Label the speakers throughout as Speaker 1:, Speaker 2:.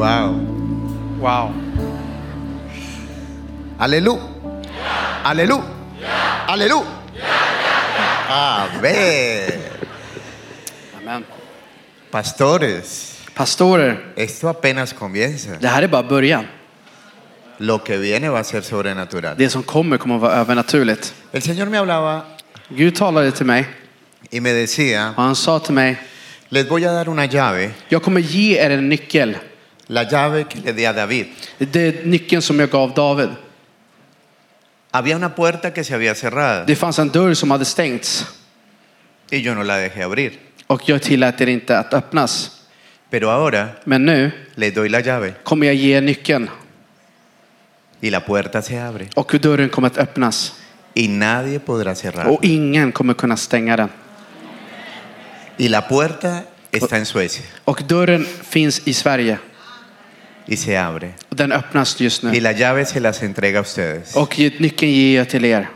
Speaker 1: Wow.
Speaker 2: Wow.
Speaker 1: Alelu. Alelu. Alelu. A ver,
Speaker 2: Amen.
Speaker 1: pastores,
Speaker 2: Pastorer,
Speaker 1: esto apenas comienza.
Speaker 2: det här är bara början.
Speaker 1: Lo que viene va a ser sobrenatural.
Speaker 2: Det som kommer kommer att vara övernaturligt.
Speaker 1: El Señor me hablaba
Speaker 2: Gud talade till mig
Speaker 1: y me decía,
Speaker 2: och han sa till mig,
Speaker 1: les voy a dar una llave,
Speaker 2: jag kommer ge er en nyckel.
Speaker 1: la llave que le di a David.
Speaker 2: Det är nyckeln som jag gav David.
Speaker 1: Había una puerta que se había cerrada
Speaker 2: Det fanns en dörr som hade stängts
Speaker 1: y yo no la dejé abrir,
Speaker 2: och jag tillät er inte att öppnas.
Speaker 1: pero ahora
Speaker 2: Men nu
Speaker 1: les doy la llave
Speaker 2: kommer jag ge er nyckeln
Speaker 1: y la puerta se abre
Speaker 2: och dörren kommer att öppnas
Speaker 1: y nadie podrá cerrar.
Speaker 2: och ingen kommer kunna stänga den.
Speaker 1: Y la puerta está en Suecia
Speaker 2: Och dörren finns i Sverige.
Speaker 1: y se abre.
Speaker 2: Och Den öppnas just
Speaker 1: Y
Speaker 2: nu.
Speaker 1: la llave se las entrega a ustedes.
Speaker 2: Och nyckeln ger jag till er.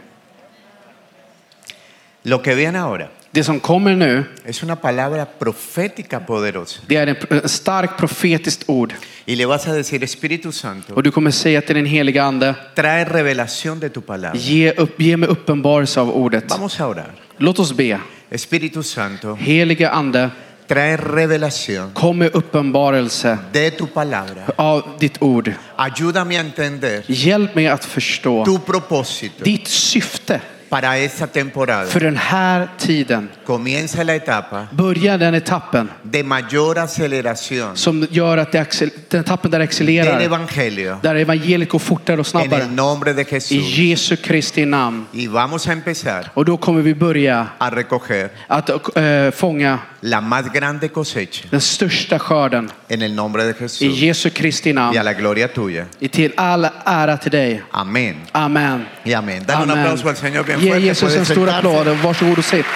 Speaker 1: Lo que ven ahora
Speaker 2: Det som kommer nu
Speaker 1: es una palabra profética poderosa.
Speaker 2: Det är en- en stark profetiskt ord.
Speaker 1: Y le vas a decir, Espíritu Santo,
Speaker 2: Och du kommer säga till den heliga ande,
Speaker 1: trae revelación de tu palabra.
Speaker 2: ge, upp, ge mig uppenbarelse av ordet.
Speaker 1: Vamos a orar.
Speaker 2: Låt oss be.
Speaker 1: Espíritu Santo,
Speaker 2: Heliga ande,
Speaker 1: trae revelación
Speaker 2: kom med uppenbarelse
Speaker 1: de tu palabra.
Speaker 2: av ditt ord.
Speaker 1: Ayúdame a entender
Speaker 2: Hjälp mig att förstå
Speaker 1: tu propósito
Speaker 2: ditt syfte
Speaker 1: para esta temporada.
Speaker 2: för den här tiden.
Speaker 1: Comienza la etapa
Speaker 2: Börja den etappen
Speaker 1: de mayor aceleración
Speaker 2: som gör att det accel- den etappen där det
Speaker 1: del
Speaker 2: accelererar,
Speaker 1: Evangelio
Speaker 2: där evangeliet går fortare och
Speaker 1: en el
Speaker 2: snabbare.
Speaker 1: nombre de
Speaker 2: I
Speaker 1: Jesús.
Speaker 2: Jesu Kristi namn.
Speaker 1: Y vamos a empezar
Speaker 2: Och då kommer vi börja
Speaker 1: a recoger
Speaker 2: att äh, fånga
Speaker 1: la más grande cosecha
Speaker 2: den största skörden
Speaker 1: en el nombre de
Speaker 2: I
Speaker 1: Jesús.
Speaker 2: Jesu Kristi
Speaker 1: y a
Speaker 2: namn.
Speaker 1: la gloria tuya.
Speaker 2: I till all ära till dig.
Speaker 1: Amén.
Speaker 2: Amen.
Speaker 1: Y amén. Dale un
Speaker 2: Amen.
Speaker 1: aplauso al Señor bien
Speaker 2: Ge
Speaker 1: fuerte.
Speaker 2: Jesus en
Speaker 1: Puedes
Speaker 2: stor
Speaker 1: sentarse.
Speaker 2: applåd. Varsågod och sitt.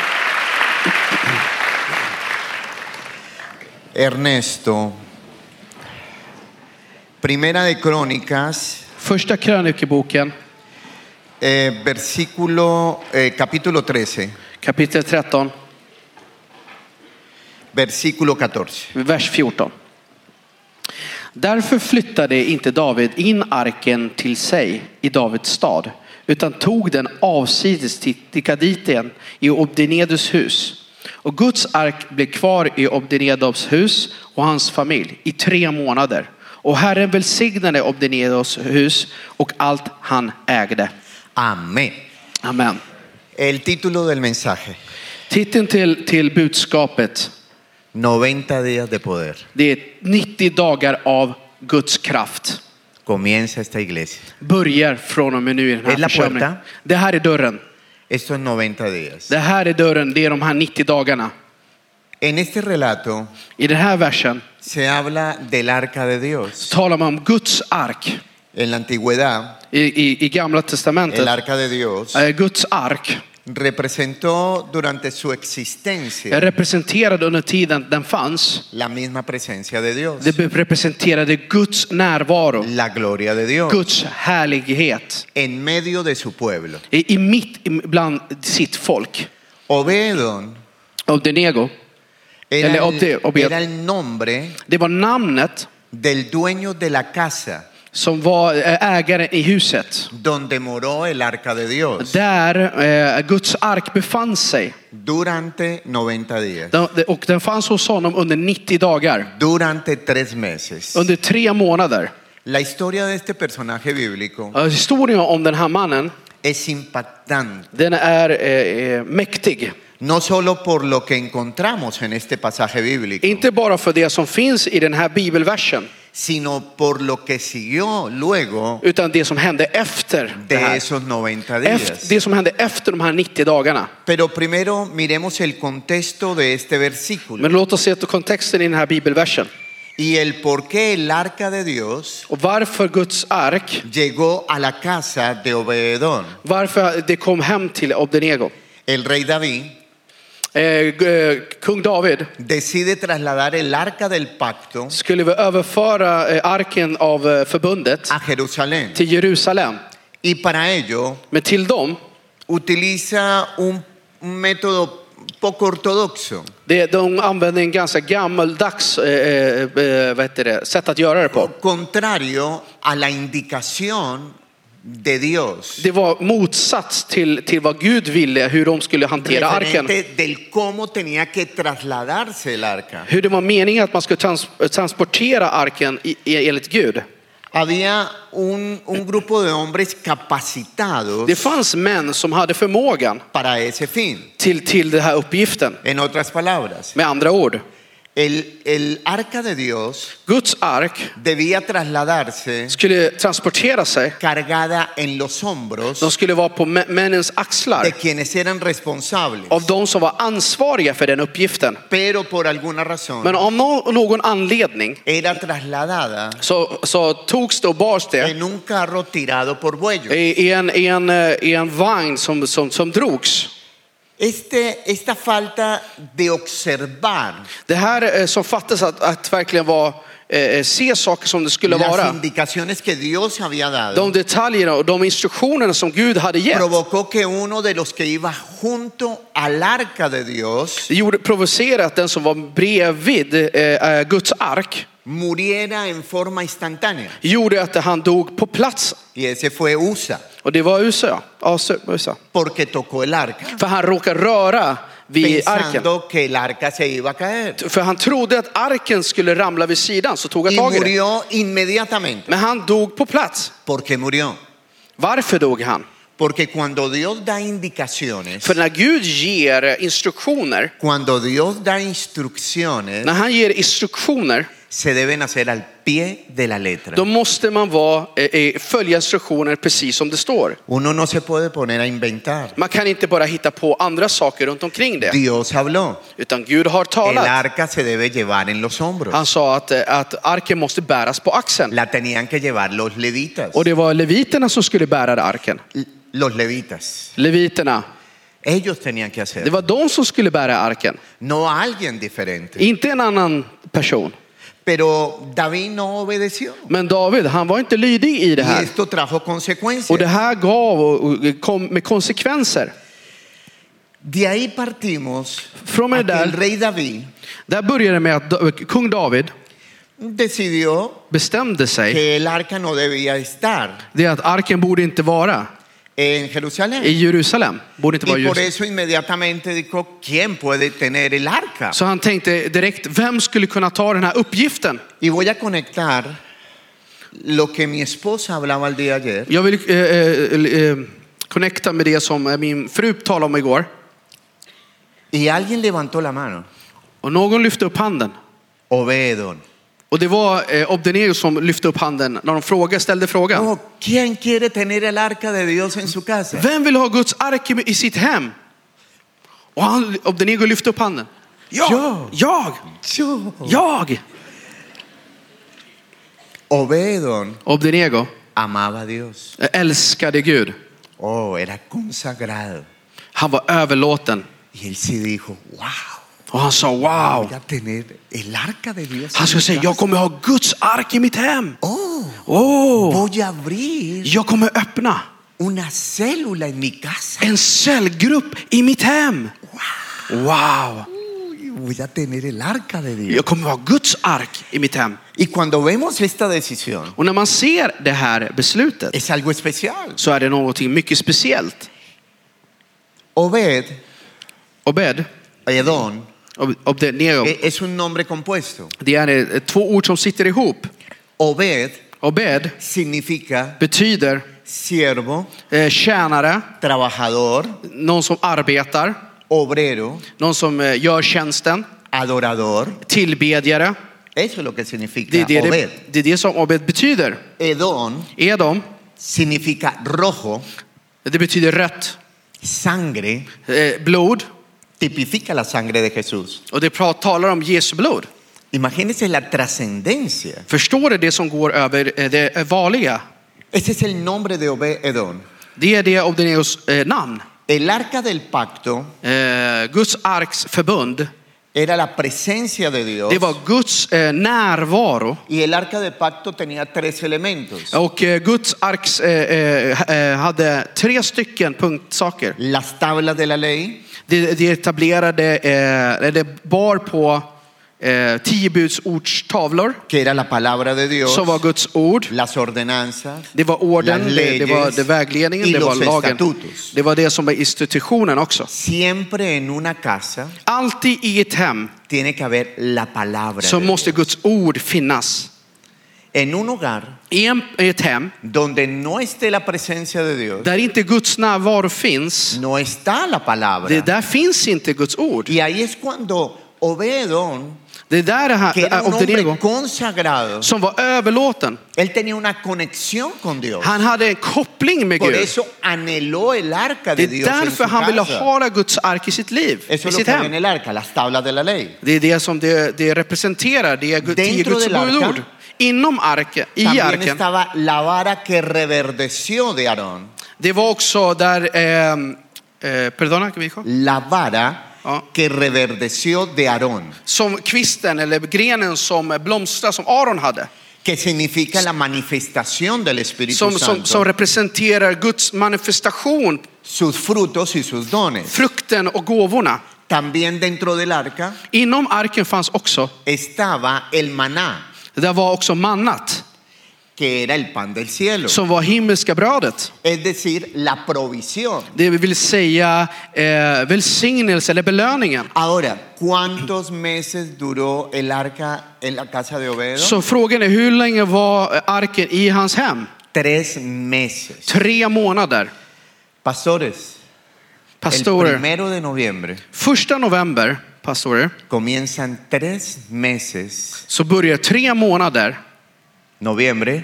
Speaker 1: Ernesto. Primera de Crónicas,
Speaker 2: Första krönikeboken
Speaker 1: eh, versículo, eh, capítulo 13,
Speaker 2: kapitel 13,
Speaker 1: versículo 14.
Speaker 2: vers 14. Därför flyttade inte David in arken till sig i Davids stad utan tog den avsides till Dikaditen i Obdinedus hus. Och Guds ark blev kvar i Obdinedabs hus och hans familj i tre månader. Och Herren välsignade Obdinedabs hus och allt han ägde.
Speaker 1: Amén.
Speaker 2: Amen.
Speaker 1: El título del mensaje,
Speaker 2: Titeln till, till budskapet
Speaker 1: 90 días de poder.
Speaker 2: det är 90 dagar av Guds kraft.
Speaker 1: Comienza esta iglesia.
Speaker 2: börjar från och med nu i
Speaker 1: Är
Speaker 2: den
Speaker 1: la
Speaker 2: här församlingen.
Speaker 1: puerta?
Speaker 2: Det här är dörren.
Speaker 1: Esto es 90 días.
Speaker 2: Det här är dörren. Det är de här 90 dagarna.
Speaker 1: En este relato
Speaker 2: I den här versen
Speaker 1: se habla del arca de Dios.
Speaker 2: talar man om Guds ark.
Speaker 1: En la antigüedad,
Speaker 2: I, i, i gamla
Speaker 1: el
Speaker 2: testamentet.
Speaker 1: arca de Dios
Speaker 2: Eh, Guds ark
Speaker 1: representó durante su existencia
Speaker 2: representerade under tiden den fanns.
Speaker 1: la misma presencia de Dios,
Speaker 2: Det representerade Guds närvaro.
Speaker 1: la gloria de Dios
Speaker 2: Guds härlighet.
Speaker 1: en medio de su pueblo.
Speaker 2: I, i mitt bland sitt folk.
Speaker 1: Obedon
Speaker 2: Obdenego.
Speaker 1: era,
Speaker 2: Ele- obde-
Speaker 1: el,
Speaker 2: obed-
Speaker 1: era el nombre
Speaker 2: Det var namnet
Speaker 1: del dueño de la casa
Speaker 2: som var eh, ägare i huset.
Speaker 1: donde moró el arca de Dios
Speaker 2: där eh, Guds ark befann sig.
Speaker 1: durante 90 días,
Speaker 2: Den, och den fanns hos honom under 90 dagar,
Speaker 1: durante tres meses.
Speaker 2: under tre månader.
Speaker 1: La historia de este personaje bíblico
Speaker 2: Eh, Historien om den här mannen,
Speaker 1: es impactante,
Speaker 2: den är eh, eh, mäktig.
Speaker 1: no solo por lo que encontramos en este pasaje bíblico,
Speaker 2: Inte bara för det som finns i den här bibelversen,
Speaker 1: sino por lo que siguió luego
Speaker 2: utan det som hände efter
Speaker 1: de
Speaker 2: det här.
Speaker 1: esos 90
Speaker 2: Efter,
Speaker 1: días.
Speaker 2: det som hände efter de här 90 dagarna.
Speaker 1: Pero primero miremos el contexto de este versículo
Speaker 2: Men låt oss se till kontexten i den här bibelversen.
Speaker 1: y el por qué el arca de Dios
Speaker 2: Och varför Guds ark,
Speaker 1: llegó a la casa de Obededón.
Speaker 2: varför det kom hem till Obdenego.
Speaker 1: El rey David
Speaker 2: Eh, g- eh, kung David,
Speaker 1: decide trasladar el arca del pacto
Speaker 2: skulle vi överföra eh, arken av eh, förbundet
Speaker 1: a Jerusalén
Speaker 2: till Jerusalem.
Speaker 1: y para ello
Speaker 2: Men till dem
Speaker 1: utiliza un un método poco ortodoxo.
Speaker 2: Det, de använder en ganska gammaldags eh, eh, eh, vad heter det, sätt att göra det på.
Speaker 1: contrario a la indicación de Dios
Speaker 2: Det var motsats till, till vad Gud ville, hur de skulle hantera arken.
Speaker 1: referente del cómo tenía que trasladarse el arca.
Speaker 2: Hur det var meningen att man skulle trans, transportera arken i, i, enligt Gud.
Speaker 1: Había un, un grupo de hombres capacitados
Speaker 2: Det fanns män som hade förmågan
Speaker 1: para ese fin.
Speaker 2: till, till den här uppgiften.
Speaker 1: En otras palabras,
Speaker 2: Med andra ord,
Speaker 1: el, el arca de Dios
Speaker 2: Guds ark
Speaker 1: debía trasladarse
Speaker 2: skulle transportera sig.
Speaker 1: cargada en los hombros
Speaker 2: De skulle vara på mä- männens axlar
Speaker 1: de quienes eran responsables,
Speaker 2: av de som var ansvariga för den uppgiften.
Speaker 1: pero por alguna
Speaker 2: Men
Speaker 1: razón
Speaker 2: av nå- någon anledning
Speaker 1: era trasladada
Speaker 2: så, så togs det och bars det
Speaker 1: en un carro tirado por bueyes.
Speaker 2: i, i, en, i, en, eh, i en vagn som, som, som drogs.
Speaker 1: Este, esta falta de observar
Speaker 2: Det här eh, som fattas att, att verkligen vara, eh, se saker som det skulle
Speaker 1: las
Speaker 2: vara.
Speaker 1: indicaciones que Dios había dado
Speaker 2: De detaljerna och de instruktionerna som Gud hade gett.
Speaker 1: provocó que uno de los que iba junto al arca de Dios
Speaker 2: Det gjorde provocerat den som var bredvid eh, eh, Guds ark.
Speaker 1: muriera en forma instantánea.
Speaker 2: Gjorde att han dog på plats.
Speaker 1: Y ese fue Usa,
Speaker 2: Och det var USA. Ja, så- USA.
Speaker 1: porque tocó el arca,
Speaker 2: För han råkade röra vid arken.
Speaker 1: pensando que el arca se iba a caer.
Speaker 2: För han trodde att arken skulle ramla vid sidan så tog han
Speaker 1: Y
Speaker 2: tag i det.
Speaker 1: murió inmediatamente.
Speaker 2: Men han dog på plats.
Speaker 1: ¿Por qué murió?
Speaker 2: Varför dog han?
Speaker 1: Porque cuando Dios da indicaciones,
Speaker 2: För när Gud ger instruktioner,
Speaker 1: cuando Dios da
Speaker 2: när
Speaker 1: instrucciones,
Speaker 2: han ger instruktioner,
Speaker 1: se deben hacer al pie de la letra.
Speaker 2: då måste man vara, eh, eh, följa instruktioner precis som det står.
Speaker 1: Uno no se puede poner a inventar.
Speaker 2: Man kan inte bara hitta på andra saker runt omkring det,
Speaker 1: Dios habló.
Speaker 2: utan Gud har
Speaker 1: El
Speaker 2: talat.
Speaker 1: arca se debe llevar en los hombros.
Speaker 2: Han sa att, eh, att arken måste bäras på axeln.
Speaker 1: La tenían que llevar los levitas.
Speaker 2: Och det var leviterna som skulle bära arken.
Speaker 1: Los levitas.
Speaker 2: Leviterna,
Speaker 1: Ellos tenían que
Speaker 2: det
Speaker 1: hacer.
Speaker 2: var de som skulle bära arken.
Speaker 1: No a alguien diferente.
Speaker 2: Inte en annan person.
Speaker 1: Pero David no obedeció.
Speaker 2: Men David, han var inte lydig i det
Speaker 1: Y
Speaker 2: här.
Speaker 1: esto trajo
Speaker 2: Och det
Speaker 1: consecuencias.
Speaker 2: här gav och- och kom med konsekvenser.
Speaker 1: De ahí partimos
Speaker 2: Från
Speaker 1: a
Speaker 2: och
Speaker 1: que
Speaker 2: med
Speaker 1: el
Speaker 2: där,
Speaker 1: rey David
Speaker 2: där började det med att Da- kung David
Speaker 1: decidió
Speaker 2: bestämde sig.
Speaker 1: que el arca no debía estar
Speaker 2: Det är att arken borde inte vara
Speaker 1: en
Speaker 2: i
Speaker 1: Jerusalén.
Speaker 2: Jerusalem. Borde inte vara i
Speaker 1: Y por
Speaker 2: Jerusalem.
Speaker 1: eso inmediatamente dijo, ¿quién puede tener el arca?
Speaker 2: Så han tänkte direkt, vem skulle kunna ta den här uppgiften?
Speaker 1: Y voy a conectar lo que mi esposa hablaba el día ayer
Speaker 2: Jag vill eh, eh, eh, connecta med det som eh, min fru talade om igår.
Speaker 1: y alguien levantó la mano.
Speaker 2: Och någon lyfte upp handen.
Speaker 1: Obedon.
Speaker 2: Och det var eh, Obdeneo som lyfte upp handen när de fråga, ställde frågan.
Speaker 1: No, ¿quién quiere tener el arca de Dios en su casa?
Speaker 2: Vem vill ha Guds ark i- i sitt hem? Och han, Obdenego lyfte upp handen.
Speaker 1: Jag!
Speaker 2: Jag!
Speaker 1: Yo.
Speaker 2: Jag!
Speaker 1: Obedon
Speaker 2: Obdenego
Speaker 1: amaba a Dios.
Speaker 2: älskade Gud.
Speaker 1: Oh, era consagrado.
Speaker 2: Han var överlåten.
Speaker 1: Y él sí dijo, wow,
Speaker 2: Och han sa wow.
Speaker 1: voy a tener el arca de Dios.
Speaker 2: Han
Speaker 1: en
Speaker 2: skulle
Speaker 1: mi
Speaker 2: säga
Speaker 1: casa.
Speaker 2: jag kommer ha Guds ark i mitt hem.
Speaker 1: Oh,
Speaker 2: Åh!
Speaker 1: voy a abrir
Speaker 2: Jag kommer öppna
Speaker 1: una célula en mi casa.
Speaker 2: en cellgrupp i mitt hem. Wow!
Speaker 1: Uy, voy a tener el arca de Dios.
Speaker 2: Jag kommer ha Guds ark i mitt hem.
Speaker 1: Y cuando vemos esta decisión,
Speaker 2: Och när man ser det här beslutet
Speaker 1: es algo especial.
Speaker 2: så är det någonting mycket speciellt.
Speaker 1: Obed,
Speaker 2: Obed,
Speaker 1: Edón,
Speaker 2: Ob- Obdenego,
Speaker 1: e- es un nombre compuesto.
Speaker 2: det är eh, två ord som sitter ihop.
Speaker 1: Obed
Speaker 2: Obed
Speaker 1: significa
Speaker 2: betyder
Speaker 1: siervo,
Speaker 2: eh, tjänare,
Speaker 1: trabajador,
Speaker 2: någon som arbetar,
Speaker 1: obrero,
Speaker 2: någon som eh, gör tjänsten,
Speaker 1: adorador.
Speaker 2: tillbedjare.
Speaker 1: Eso es lo que significa
Speaker 2: Det är det,
Speaker 1: Obed.
Speaker 2: det, det, är det som Obed betyder.
Speaker 1: Edón
Speaker 2: Edom,
Speaker 1: significa rojo,
Speaker 2: det betyder rött
Speaker 1: sangre,
Speaker 2: eh, blod
Speaker 1: tipifica la sangre de Jesús.
Speaker 2: och det pra- talar om Jesu blod.
Speaker 1: Imagínense la trascendencia.
Speaker 2: Förstår du det som går över eh, det eh, vanliga?
Speaker 1: Ese es el nombre de Obed Edón.
Speaker 2: Det är det Obdeneos eh, namn.
Speaker 1: El arca del pacto
Speaker 2: Eh, Guds arks förbund,
Speaker 1: era la presencia de Dios.
Speaker 2: det var Guds eh, närvaro.
Speaker 1: Y el arca del pacto tenía tres elementos.
Speaker 2: Och eh, Guds arks eh, eh, eh, hade tre stycken punktsaker.
Speaker 1: Las tablas de la ley,
Speaker 2: De, de etablerade, eh, eller bar på eh, tio Buds ordstavlor
Speaker 1: que era la palabra de Dios,
Speaker 2: som var Guds ord.
Speaker 1: las ordenanzas,
Speaker 2: Det var orden,
Speaker 1: Las
Speaker 2: det, det var
Speaker 1: leyes
Speaker 2: det vägledningen,
Speaker 1: y
Speaker 2: det var
Speaker 1: los
Speaker 2: lagen.
Speaker 1: estatutos.
Speaker 2: Det var det som var institutionen också.
Speaker 1: siempre en una casa
Speaker 2: Alltid i ett hem
Speaker 1: tiene que haber la palabra.
Speaker 2: så
Speaker 1: de
Speaker 2: måste Guds ord finnas.
Speaker 1: Dios. En un hogar
Speaker 2: I en- i ett hem
Speaker 1: donde no esté la presencia de Dios,
Speaker 2: där inte Guds närvaro finns,
Speaker 1: no está la palabra.
Speaker 2: det där finns inte Guds ord.
Speaker 1: Y ahí es cuando Obedón,
Speaker 2: Det där är
Speaker 1: que era
Speaker 2: han-
Speaker 1: un
Speaker 2: Obdenego
Speaker 1: hombre consagrado,
Speaker 2: som var överlåten.
Speaker 1: él tenía una conexión con Dios.
Speaker 2: Han hade en koppling med
Speaker 1: Por
Speaker 2: Gud.
Speaker 1: eso anheló el arca
Speaker 2: Det
Speaker 1: de
Speaker 2: är
Speaker 1: Dios en su
Speaker 2: därför han ville
Speaker 1: casa.
Speaker 2: ha Guds ark i sitt liv,
Speaker 1: Eso
Speaker 2: i
Speaker 1: es lo
Speaker 2: sitt
Speaker 1: que había en el
Speaker 2: hem.
Speaker 1: arca, las tablas de la ley.
Speaker 2: Det är det som det, det representerar, det är Gud- tio
Speaker 1: Dentro
Speaker 2: Guds
Speaker 1: del arca.
Speaker 2: ord. Inom arken, i
Speaker 1: También
Speaker 2: arken,
Speaker 1: estaba la vara que reverdeció de Aarón.
Speaker 2: det var också där... Eh, eh, perdona, que me dijo?
Speaker 1: La vara
Speaker 2: Ah.
Speaker 1: que reverdeció de Aarón,
Speaker 2: Som kvisten eller grenen som blomstrar, som Aron hade.
Speaker 1: que significa la manifestación del Espíritu
Speaker 2: Som, som,
Speaker 1: Santo,
Speaker 2: som representerar Guds manifestation,
Speaker 1: sus frutos y sus dones.
Speaker 2: frukten och gåvorna.
Speaker 1: También dentro del arca
Speaker 2: Inom arken fanns också,
Speaker 1: estaba el maná,
Speaker 2: där var också mannat,
Speaker 1: que era el pan del cielo,
Speaker 2: som var himmelska brödet.
Speaker 1: es decir, la provisión.
Speaker 2: Det vill säga eh, välsignelse eller belöningen.
Speaker 1: Ahora, ¿cuántos meses duró el arca en la casa de Obedo?
Speaker 2: Så frågan är hur länge var arken i hans hem?
Speaker 1: Tres meses.
Speaker 2: Tre månader.
Speaker 1: Pastores, el
Speaker 2: Pastorer.
Speaker 1: primero de noviembre
Speaker 2: Första november, pastorer,
Speaker 1: comienzan tres meses.
Speaker 2: så börjar tre månader.
Speaker 1: Noviembre,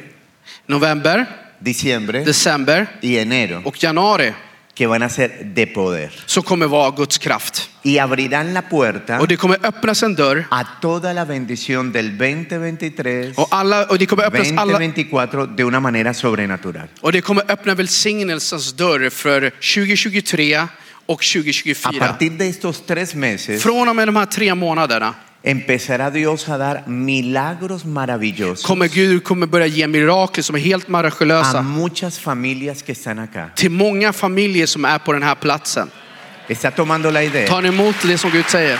Speaker 2: November,
Speaker 1: diciembre
Speaker 2: december
Speaker 1: y enero,
Speaker 2: och januari.
Speaker 1: que van a ser de poder.
Speaker 2: Som kommer vara Guds kraft.
Speaker 1: Y abrirán la puerta
Speaker 2: Och det kommer öppnas en dörr.
Speaker 1: a toda la bendición del 2023,
Speaker 2: Och, alla, och det kommer öppnas alla...
Speaker 1: 2024 de una manera sobrenatural.
Speaker 2: Och det kommer öppna välsignelsens dörr för 2023 och
Speaker 1: A
Speaker 2: 2024.
Speaker 1: partir de estos tres meses
Speaker 2: Från och med de här tre månaderna
Speaker 1: empezará Dios a dar milagros maravillosos
Speaker 2: kommer Gud kommer börja ge mirakel som är helt
Speaker 1: a
Speaker 2: mirakulösa
Speaker 1: muchas familias que están acá.
Speaker 2: till många familjer som är på den här platsen.
Speaker 1: Está tomando la idea.
Speaker 2: Tar ni emot det som Gud säger?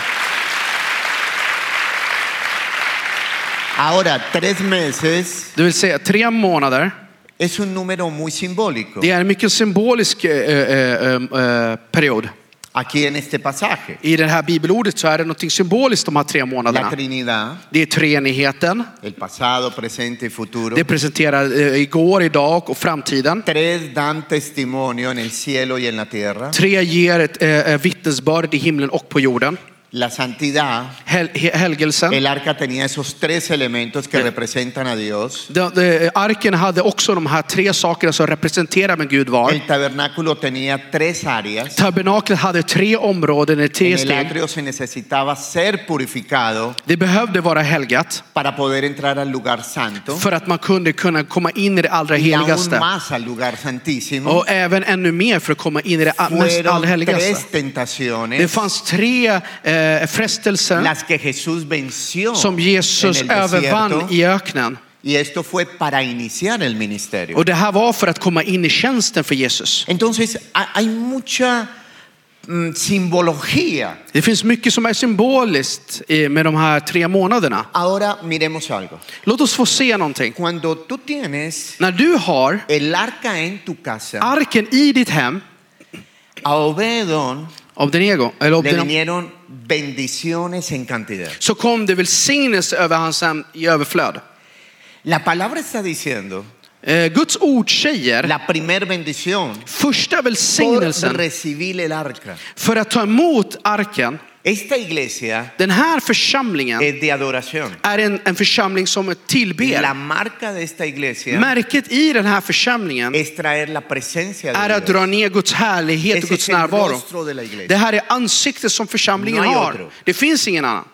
Speaker 1: Ahora, tres meses
Speaker 2: Det vill säga tre månader.
Speaker 1: es un número muy simbólico
Speaker 2: Det är en mycket symbolisk eh, eh, eh, eh, period.
Speaker 1: aquí en este pasaje.
Speaker 2: I det här bibelordet så är det något symboliskt de här tre
Speaker 1: La
Speaker 2: månaderna.
Speaker 1: Trinidad,
Speaker 2: Det är treenigheten.
Speaker 1: el pasado, presente y futuro.
Speaker 2: Det presenterar eh, igår, idag och framtiden.
Speaker 1: Tres dan testimonio en el cielo y en la tierra.
Speaker 2: Tre ger ett eh, eh, vittnesbörd i himlen och på jorden.
Speaker 1: La santidad,
Speaker 2: Hel he- helgelsen.
Speaker 1: el arca tenía esos tres elementos que representan a Dios.
Speaker 2: De, de, arken hade också de här tre sakerna som representerar vem Gud var.
Speaker 1: El tabernáculo tenía tres áreas.
Speaker 2: Tabernaklet hade tre områden, eller tre
Speaker 1: En el
Speaker 2: steg.
Speaker 1: atrio se necesitaba ser purificado
Speaker 2: Det behövde vara helgat
Speaker 1: para poder entrar al lugar santo
Speaker 2: för att man kunde kunna komma in i det allra
Speaker 1: y aún
Speaker 2: heligaste.
Speaker 1: más al lugar santísimo.
Speaker 2: Och även ännu mer för att komma in i det a- mest
Speaker 1: Fueron
Speaker 2: allra heligaste.
Speaker 1: tres
Speaker 2: Det
Speaker 1: tentaciones
Speaker 2: fanns tre eh, frestelser
Speaker 1: las que Jesús venció
Speaker 2: som Jesus
Speaker 1: en el desierto
Speaker 2: övervann i öknen.
Speaker 1: y esto fue para iniciar el ministerio.
Speaker 2: Och det här var för att komma in i tjänsten för Jesus.
Speaker 1: Entonces ha- hay mucha mm, simbología.
Speaker 2: Det finns mycket som är symboliskt eh, med de här tre månaderna.
Speaker 1: Ahora miremos algo.
Speaker 2: Låt oss få se någonting.
Speaker 1: Cuando tú tienes
Speaker 2: När du har
Speaker 1: el arca en tu casa,
Speaker 2: arken i ditt hem,
Speaker 1: a Obedón
Speaker 2: Obdenego, eller
Speaker 1: le
Speaker 2: Obdenom,
Speaker 1: vinieron bendiciones en cantidad.
Speaker 2: så kom det välsignelse över hans hem i överflöd.
Speaker 1: La palabra está diciendo
Speaker 2: Eh, Guds ord säger,
Speaker 1: la primer bendición
Speaker 2: första
Speaker 1: por
Speaker 2: välsignelsen
Speaker 1: recibir el arca.
Speaker 2: för att ta emot arken,
Speaker 1: Esta iglesia
Speaker 2: den här församlingen
Speaker 1: es de adoración.
Speaker 2: är en, en församling som
Speaker 1: La
Speaker 2: tillber.
Speaker 1: marca de esta iglesia
Speaker 2: Märket i den här församlingen
Speaker 1: es traer la presencia
Speaker 2: är
Speaker 1: de
Speaker 2: att dra
Speaker 1: Dios.
Speaker 2: ner Guds härlighet och
Speaker 1: Ese
Speaker 2: Guds
Speaker 1: es el
Speaker 2: närvaro.
Speaker 1: rostro de la
Speaker 2: Det
Speaker 1: iglesia.
Speaker 2: här är ansiktet som församlingen
Speaker 1: Nej,
Speaker 2: har.
Speaker 1: otro.
Speaker 2: Det finns ingen annan.